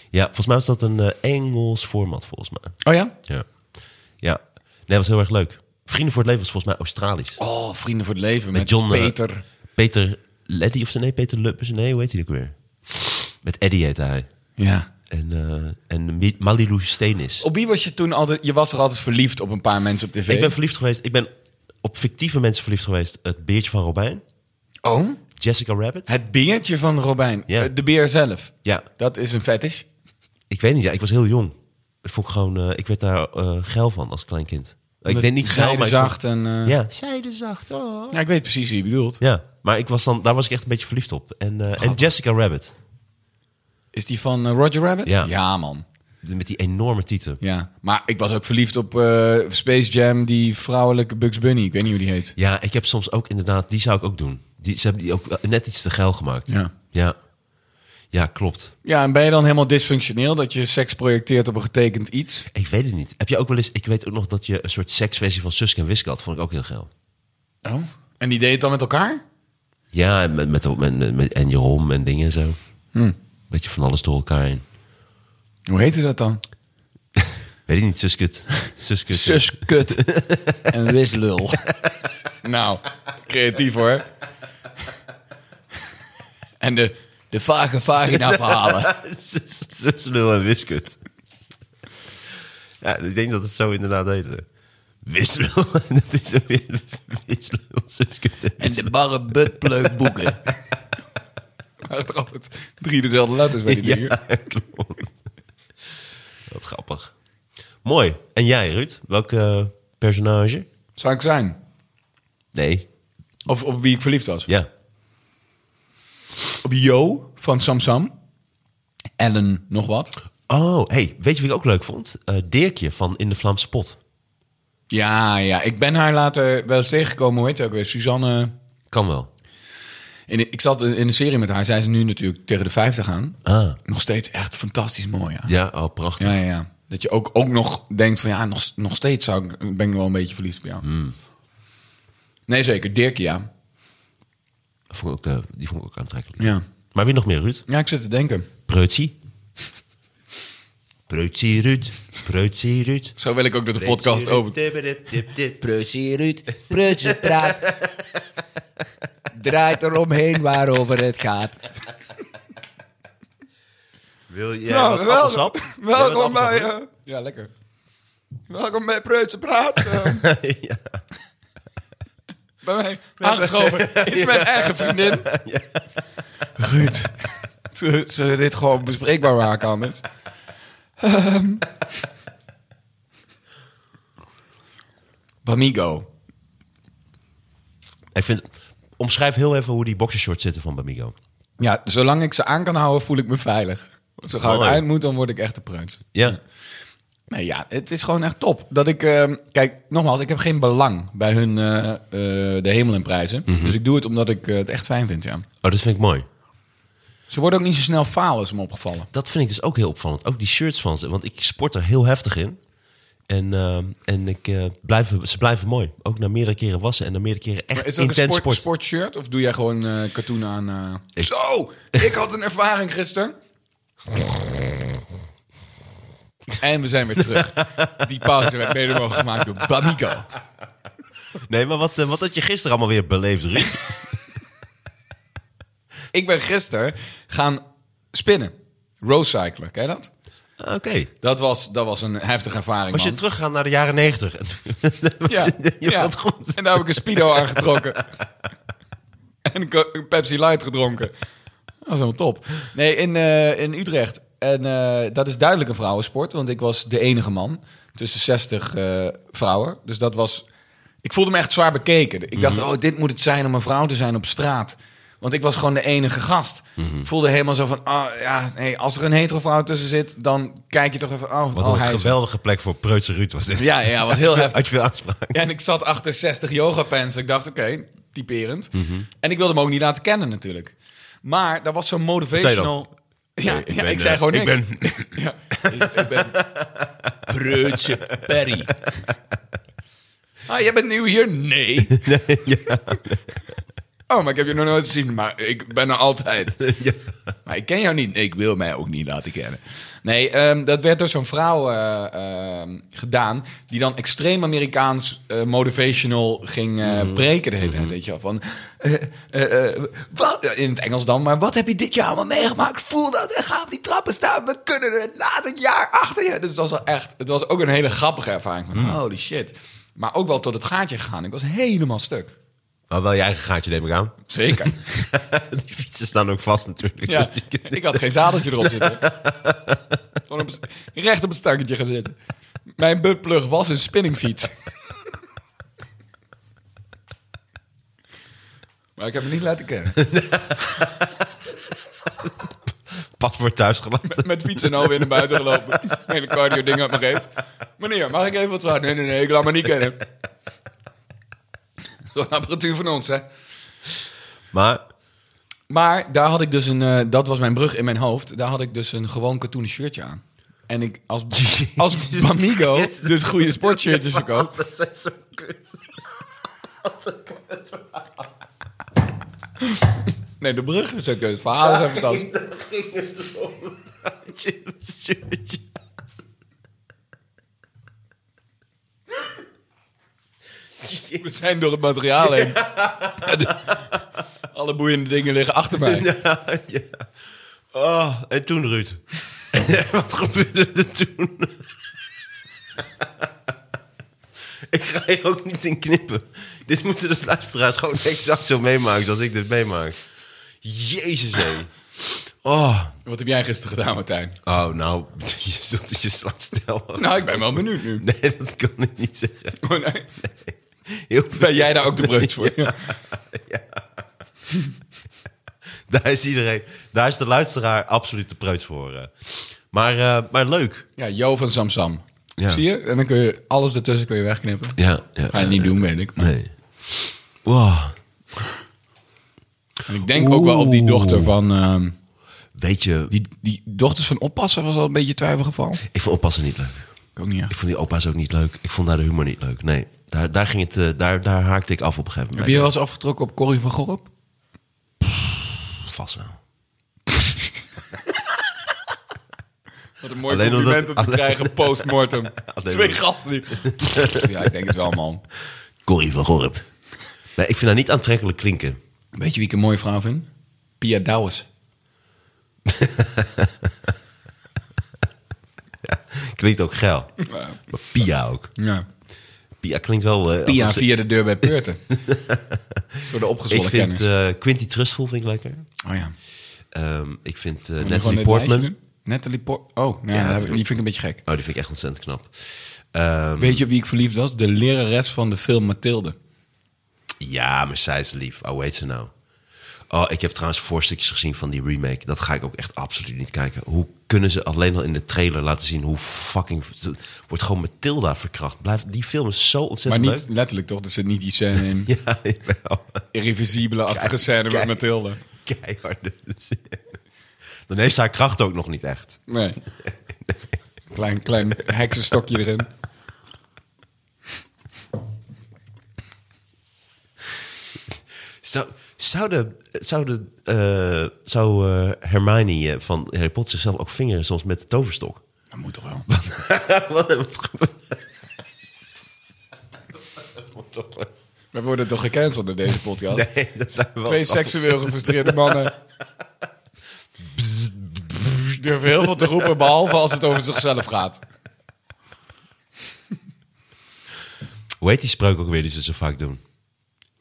Ja, volgens mij was dat een eh, Engels format, volgens Oh mij. ja? Ja. Ja. Nee, dat was heel erg leuk. Vrienden voor het leven was volgens mij Australisch. Oh, Vrienden voor het Leven met, met John... eh, Peter. Peter Leddy of zo? nee, Peter Lubbers. Nee, hoe heet hij ook weer? Met Eddie heette hij. ja. En, eh, en Mi- Malilou Steenis. Op wie was je toen altijd... Je was er altijd verliefd op een paar mensen op tv. Ik ben verliefd geweest. Ik ben op fictieve mensen verliefd geweest. Het beertje van Robijn. oh, Jessica Rabbit. het beertje van Robijn. Ja. Eh, De beer zelf. Ja, Dat is een fetish. ik weet niet. Ja, ik was heel jong. Ik, vond gewoon, eh, ik werd daar eh, geil van als klein kind. Ik Omdat denk niet geil, maar ik vond- zijdezacht en... eh, [LAUGHS] Ja. Zijdezacht, oh. ja, ik weet precies wie je bedoelt. Ja, maar ik was dan, daar was ik echt een beetje verliefd op. En, eh, en Jessica Rabbit. Is die van eh, Roger Rabbit? Ja. man. Met die enorme titel. Ja. Maar ik was ook verliefd op eh, Space Jam, die vrouwelijke Bugs Bunny. Ik weet niet hoe die heet. Ja, ik heb soms ook inderdaad... Die zou ik ook doen. Die, ze hebben die ook eh, net iets te geil gemaakt. Ja. Ja, ja klopt. Ja, en ben je dan helemaal dysfunctioneel dat je seks projecteert op een getekend iets? Ik weet het niet. Heb je ook wel eens... Ik weet ook nog dat je een soort seksversie van Suske en Wiske had. Vond ik ook heel geil. Oh. En die deed het dan met elkaar? Ja, en met, met, met, met- en Jeroen en dingen en zo. Beetje van alles door elkaar heen. Hoe heette dat dan? Weet ik niet, Suskut. [LAUGHS] Suskut. Suskut. en wislul. nou, creatief hoor. en de, de vage vagina verhalen. [LAUGHS] Sus- Suslul en Wiskut. Ja, ik denk dat het zo inderdaad heette. Wislul. [LAUGHS] dat is zo weer Wislul, Suskut en en de barre buttplug boeken. Maar er altijd drie dezelfde letters bij die dingen. Ja, [LAUGHS] klopt. Wat grappig. Mooi. En jij, Ruud? Welk eh, personage? Zou ik zijn? Nee. Of op wie ik verliefd was? Ja. Op Jo van Samsam. Ellen nog wat. Oh, hey, weet je wie ik ook leuk vond? Eh, Dirkje van In de Vlaamse Pot. Ja, ja. Ik ben haar later wel eens tegengekomen. Hoe heet ze ook weer? Suzanne... Kan wel. In, ik zat in in een serie met haar. Zij is nu natuurlijk tegen de 50 aan. Ah. Nog steeds echt fantastisch mooi. Ja, Ja, oh, prachtig. ja, ja. ja. Dat je ook, ook nog denkt van ja, nog, nog steeds zou ik, ben ik wel een beetje verliefd op jou. Hmm. Nee, zeker. Dirk, ja. Vond ik ook, eh, die vond ik ook aantrekkelijk. ja. Maar wie nog meer, Ruud? Ja, ik zit te denken. Preutsie. Preutsie Ruud, Preutsie Ruud. Zo wil ik ook dat de podcast opent. Preutsie Ruud, preutse [LAUGHS] praat. Draait eromheen waarover het gaat. Wil jij wat appelsap? Jij wat appelsap, Ruud? Ja, lekker. eh, Welkom bij Preutse Praat. eh. [LAUGHS] Bij mij aangeschoven is mijn eigen vriendin. Ruud. Zullen we dit gewoon bespreekbaar maken anders? Ehm. Bamigo. Ik vind, omschrijf heel even hoe die boxershorts zitten van Bamigo. Ja, zolang ik ze aan kan houden, voel ik me veilig. Zo gauw het Hallo. eind moet, dan word ik echt de preuts. Ja. Nee, ja, het is gewoon echt top. Dat ik, ehm, kijk, nogmaals, ik heb geen belang bij hun eh, eh, de hemel in prijzen. Dus ik doe het omdat ik eh, het echt fijn vind, ja. Oh, dat vind ik mooi. Ze worden ook niet zo snel falen, is me opgevallen. Dat vind ik dus ook heel opvallend. Ook die shirts van ze. Want ik sport er heel heftig in. En, ehm, en ik, eh, blijven, ze blijven mooi. Ook na meerdere keren wassen en na meerdere keren echt Maar is dat intens een sport, sport. sportshirt of doe jij gewoon eh, katoen aan? eh? Ik- Zo, ik had een ervaring gisteren. En we zijn weer terug. Die pauze werd mede mogelijk gemaakt door Bamigo. Nee, maar wat, eh, wat had je gisteren allemaal weer beleefd, [LAUGHS] Ruud? Ik ben gisteren gaan spinnen. Roadcyclen, ken je dat? Eh, Oké. Dat was, dat was een heftige ervaring, Was je man. teruggegaan naar de jaren negentig? [LAUGHS] Ja, Je ja. had goed. En daar heb ik een Speedo [LAUGHS] aangetrokken. en een ko- een Pepsi Light gedronken. Dat was helemaal top. Nee, in, eh, in Utrecht. En eh, dat is duidelijk een vrouwensport, want ik was de enige man tussen 60 eh, vrouwen. Dus dat was. Ik voelde me echt zwaar bekeken. Ik dacht, Mhm. oh, dit moet het zijn om een vrouw te zijn op straat. Want ik was gewoon de enige gast. Mhm. Ik voelde helemaal zo van, ah ja, nee, als er een hetero vrouw tussen zit, dan kijk je toch even, oh, Wat oh, een hij is- geweldige plek voor Preutse Ruud was dit. [LAUGHS] Ja, ja, was heel heftig. Had je veel aanspraak? Ja, en ik zat achter 60 yoga pants. Ik dacht, oké, typerend. Mhm. En ik wilde hem ook niet laten kennen natuurlijk. Maar daar was zo'n motivational... Ja, Nee, ik ja, ben, ik zei eh, gewoon ik niks. ben- [LAUGHS] Ja, ik, ik [LAUGHS] ben preutse Perry. Ah, jij bent nieuw hier? [LAUGHS] Nee. Oh, maar ik heb je nog nooit gezien. Maar ik ben er altijd. Maar ik ken jou niet. Nee, ik wil mij ook niet laten kennen. Nee, ehm, dat werd door zo'n vrouw eh, ehm, gedaan. Die dan extreem Amerikaans eh, motivational ging eh, breken de hele tijd. Weet je wel. Van, eh, eh, eh, wat, in het Engels dan. Maar wat heb je dit jaar allemaal meegemaakt? Voel dat. En ga op die trappen staan. We kunnen er laat het jaar achter je. Dus het was wel echt. Het was ook een hele grappige ervaring. Van, Holy shit. Maar ook wel tot het gaatje gegaan. Ik was helemaal stuk. Maar wel je eigen gaatje neem ik aan. [LAUGHS] Zeker. [LAUGHS] Die fietsen staan ook vast [LAUGHS] natuurlijk. Ja, Dus je kunt- ik had geen zadeltje erop zitten. Gewoon op, een- recht op het stanketje gaan zitten. Mijn buttplug was een spinningfiets. Maar ik heb me niet laten kennen. Pas wordt thuis gelaten. Met fietsen en alweer naar buiten gelopen. Hele cardio ding uit mijn reet. Meneer, mag ik even wat vragen? Nee, nee, nee, ik laat me niet kennen. Zo'n apparatuur van ons, hè? Maar Maar daar had ik dus een, eh, dat was mijn brug in mijn hoofd. Daar had ik dus een gewoon katoenen shirtje aan. En ik [LAUGHS] als, als Bamigo dus goede sportshirtjes [LAUGHS] verkoopt. Dat zijn zo kut. Nee, de brug is ook kut. Het verhaal is even dan. ging het om. Had je een shirtje We zijn door het materiaal heen. Alle boeiende dingen liggen achter mij. Ja, [LAUGHS] ja. Oh, en toen Ruud. [LAUGHS] Wat gebeurde er toen? [LAUGHS] ik ga hier ook niet in knippen. Dit moeten de luisteraars gewoon exact zo meemaken zoals ik dit meemaak. Jezus, hé. Oh. Wat heb jij gisteren gedaan, Martijn? oh, nou, [LAUGHS] je zult het je slaat stellen. Nou, ik ben wel benieuwd nu. Nee, dat kan ik niet zeggen. Oh, nee. Heel veel- Ben jij daar ook de brug voor? Daar is iedereen, daar is de luisteraar absoluut de preuts voor. eh. Maar, eh, maar leuk. Ja, Jo van Samsam. Ja. Zie je? En dan kun je alles ertussen kun je wegknippen. Ja, ja. Ga je niet doen, weet ik. Maar Nee. Wow. ik denk ook wel op die dochter van... ehm, Weet je, Die, die dochters van oppassen was al een beetje een twijfelgeval. ik vond oppassen niet leuk. Ik ook niet Ik echt. vond die opa's ook niet leuk. Ik vond daar de humor niet leuk. Nee, daar, daar, ging het, eh, daar, daar haakte ik af op een gegeven Heb moment. je wel eens afgetrokken op Corrie van Gorp? Vast wel. Wat een mooi Alleen compliment omdat- om te krijgen [LAUGHS] post-mortem. Twee omdat- gasten die... [LAUGHS] ja, ik denk het wel, man. Corrie van Gorp. Nee, ik vind haar niet aantrekkelijk klinken. Weet je wie ik een mooie vrouw vind? Pia Douwes. Klinkt ook geil. Maar Pia ook. Ja. Pia klinkt wel... eh, Pia alsof ze- via de deur bij [LAUGHS] Peurten. Door de Ik opgezwollen vind kennis. eh Quinty Trustful vind ik lekker. oh ja. Ehm, ik vind Moet je eh, gewoon Natalie dit lijstje Portman. doen? Natalie Portman. Oh, nou, ja, Ja, dat dat heb ik- die vind ik een beetje gek. Oh, die vind ik echt ontzettend knap. Ehm, Weet je op wie ik verliefd was? De lerares van de film Mathilde. ja, maar zij is lief. Oh, hoe heet ze nou? Oh, ik heb trouwens voorstukjes gezien van die remake. Dat ga ik ook echt absoluut niet kijken. Hoe kunnen ze alleen al in de trailer laten zien hoe fucking... ze Wordt gewoon Matilda verkracht. Blijf, die film is zo Maar ontzettend niet letterlijk, toch? Er zit niet die scène in. leuk. [LAUGHS] Ja, jawel. Irrevisibele-achtige scène met kijk. Mathilde. Keiharde [LAUGHS] zin. Dan heeft ze haar kracht ook nog niet echt. [LAUGHS] Nee. Klein, klein heksenstokje erin. Zou, zou, de, zou, de, eh, zou eh, Hermione eh, van Harry Potter zichzelf ook vingeren soms met de toverstok? Dat moet toch wel. [LAUGHS] Wat een- wat een- [LAUGHS] We worden toch gecanceld in deze podcast? nee, dat zijn wel Twee seksueel gefrustreerde mannen. Die durven heel veel te roepen, behalve als het over zichzelf gaat. Hoe heet die spreuk ook weer die ze zo vaak doen?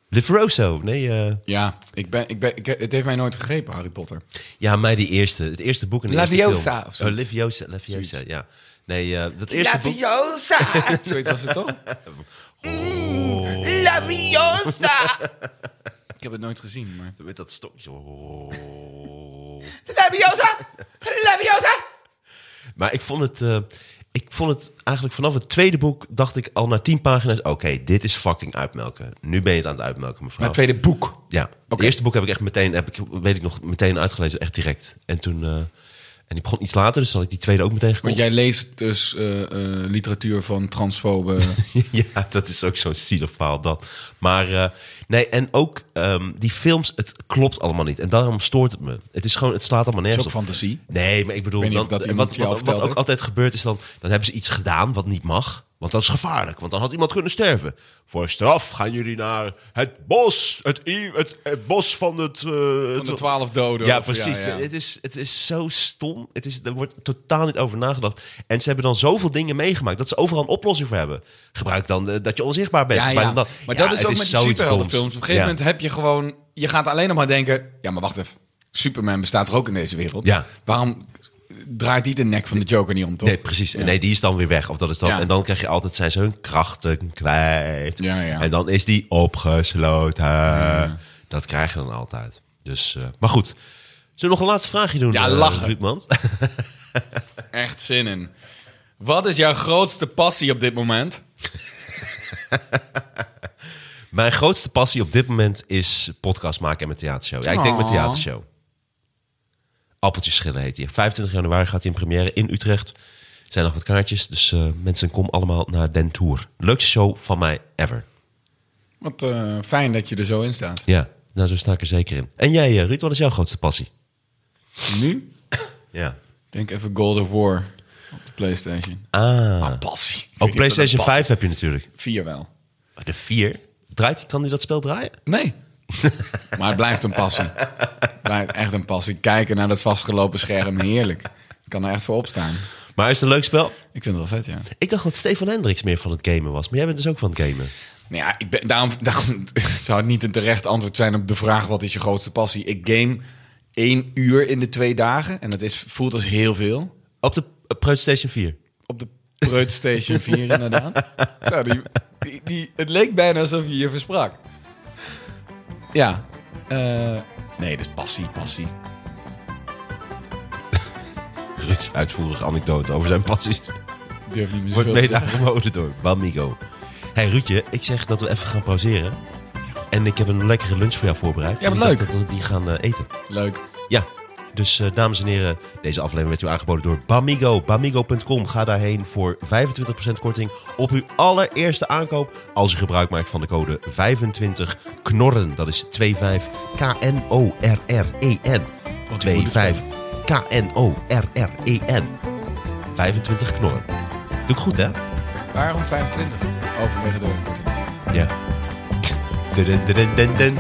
Liveroso. Nee, eh, Ja, ik ben, ik ben, ik, het heeft mij nooit gegrepen, Harry Potter. ja, mij die eerste. Het eerste boek en de eerste Laviosa film. of zoiets. Oh, Liviosa, Laviosa, ja. Nee, eh, dat eerste boek... Ah. Laviosa! Zoiets was het toch? Laviosa! Ik heb het nooit gezien, maar... Met dat stokje. Oh. Laviosa! Laviosa! Maar ik vond het, eh, ik vond het eigenlijk vanaf het tweede boek dacht ik al na tien pagina's: oké, dit is fucking uitmelken. Nu ben je het aan het uitmelken, mevrouw. het tweede boek. Ja, het eerste boek heb ik echt meteen, heb ik, weet ik nog, meteen uitgelezen, echt direct. En toen, eh, en die begon iets later, dus had ik die tweede ook meteen Want gekocht. jij leest dus eh, eh, literatuur van transfobe. [LAUGHS] [LAUGHS] ja, dat is ook zo'n zielig verhaal dat. Maar eh, nee, en ook ehm, die films, het klopt allemaal niet. En daarom stoort het me. Het is gewoon, het slaat allemaal is nergens ook op. fantasie. Nee, maar ik bedoel, Ik weet niet dan, of dat wat, iemand wat, je al wat verteld ook heeft. altijd gebeurt is dan, dan hebben ze iets gedaan wat niet mag. Want dat is gevaarlijk, want dan had iemand kunnen sterven. Voor straf gaan jullie naar het bos, het, i- het, het bos van het... eh, Van de het- twaalf doden. ja, of- precies. ja. Het, is, het is zo stom. Het is, er wordt totaal niet over nagedacht. En ze hebben dan zoveel dingen meegemaakt dat ze overal een oplossing voor hebben. Gebruik dan eh, dat je onzichtbaar bent. Ja, Gebruik ja. dan Maar Ja, dat is het ook met die zoiets superheldenfilms. Op stoms. een gegeven Ja. moment heb je gewoon... Je gaat alleen nog maar denken... Ja, maar wacht even. Superman bestaat er ook in deze wereld. Ja. Waarom draait die de nek van de Joker niet om, toch? Nee, precies. En Nee, die is dan weer weg. Of dat is dat. Ja. En dan krijg je altijd, zijn ze hun krachten kwijt. Ja, ja. En dan is die opgesloten. Dat krijg je dan altijd. Dus, eh, maar goed. Zullen we nog een laatste vraagje doen? Ja, eh, lachen. Ruudmans? Echt zin in. Wat is jouw grootste passie op dit moment? Mijn grootste passie op dit moment is podcast maken en mijn theatershow. Ja, ik denk mijn theatershow. Appeltjes schillen heet die. 25 januari gaat hij in première in Utrecht. Er zijn nog wat kaartjes, dus eh, mensen kom allemaal naar Den Tour. Leukste show van mij ever. Wat eh, fijn dat je er zo in staat. Ja, nou zo sta ik er zeker in. En jij, eh, Ruud, wat is jouw grootste passie? Nu? Ja. Denk even God of War op de Playstation. Ah, Ah, passie. Ik weet niet of dat ook een PlayStation passie- 5 heb je natuurlijk. Vier wel. Oh, De 4. Draait, kan die dat spel draaien? Nee. [LAUGHS] maar het blijft een passie. Het blijft echt een passie. Kijken naar dat vastgelopen scherm, heerlijk. Ik kan er echt voor opstaan. Maar is het een leuk spel? Ik vind het wel vet, ja. Ik dacht dat Stefan Hendricks meer van het gamen was. Maar jij bent dus ook van het gamen. Nou ja, ik ben, daarom, daarom [LAUGHS] zou het niet een terecht antwoord zijn op de vraag... wat is je grootste passie? Ik game één uur in de twee dagen. En dat is, voelt als heel veel. Op de eh, PlayStation 4. Op de Preutstation 4 [LAUGHS] inderdaad. Zo, die, die, die- het leek bijna alsof je je versprak. Ja. eh, nee, dat is passie, passie. Ruud's uitvoerige anekdote over zijn passies. Ik durf niet meer Wordt zoveel te mede aangeboden door Bamigo. Hey Ruudje, ik zeg dat we even gaan pauzeren. En ik heb een lekkere lunch voor jou voorbereid. Ja, wat En ik dacht leuk. Dat we die gaan eh, eten. Leuk. Ja, dus eh, dames en heren, deze aflevering werd u aangeboden door Bamigo. Bamigo.com. Ga daarheen voor 25% korting op uw allereerste aankoop. Als u gebruik maakt van de code 25KNORREN. Dat is 25 E K-N-O-R-R-E-N. 25 K-N-O-R-R-E-N. 25 E knorren. Doe ik goed, hè? Waarom 25? Overwege de korting. Ja. Dun, dun, dun, dun, dun.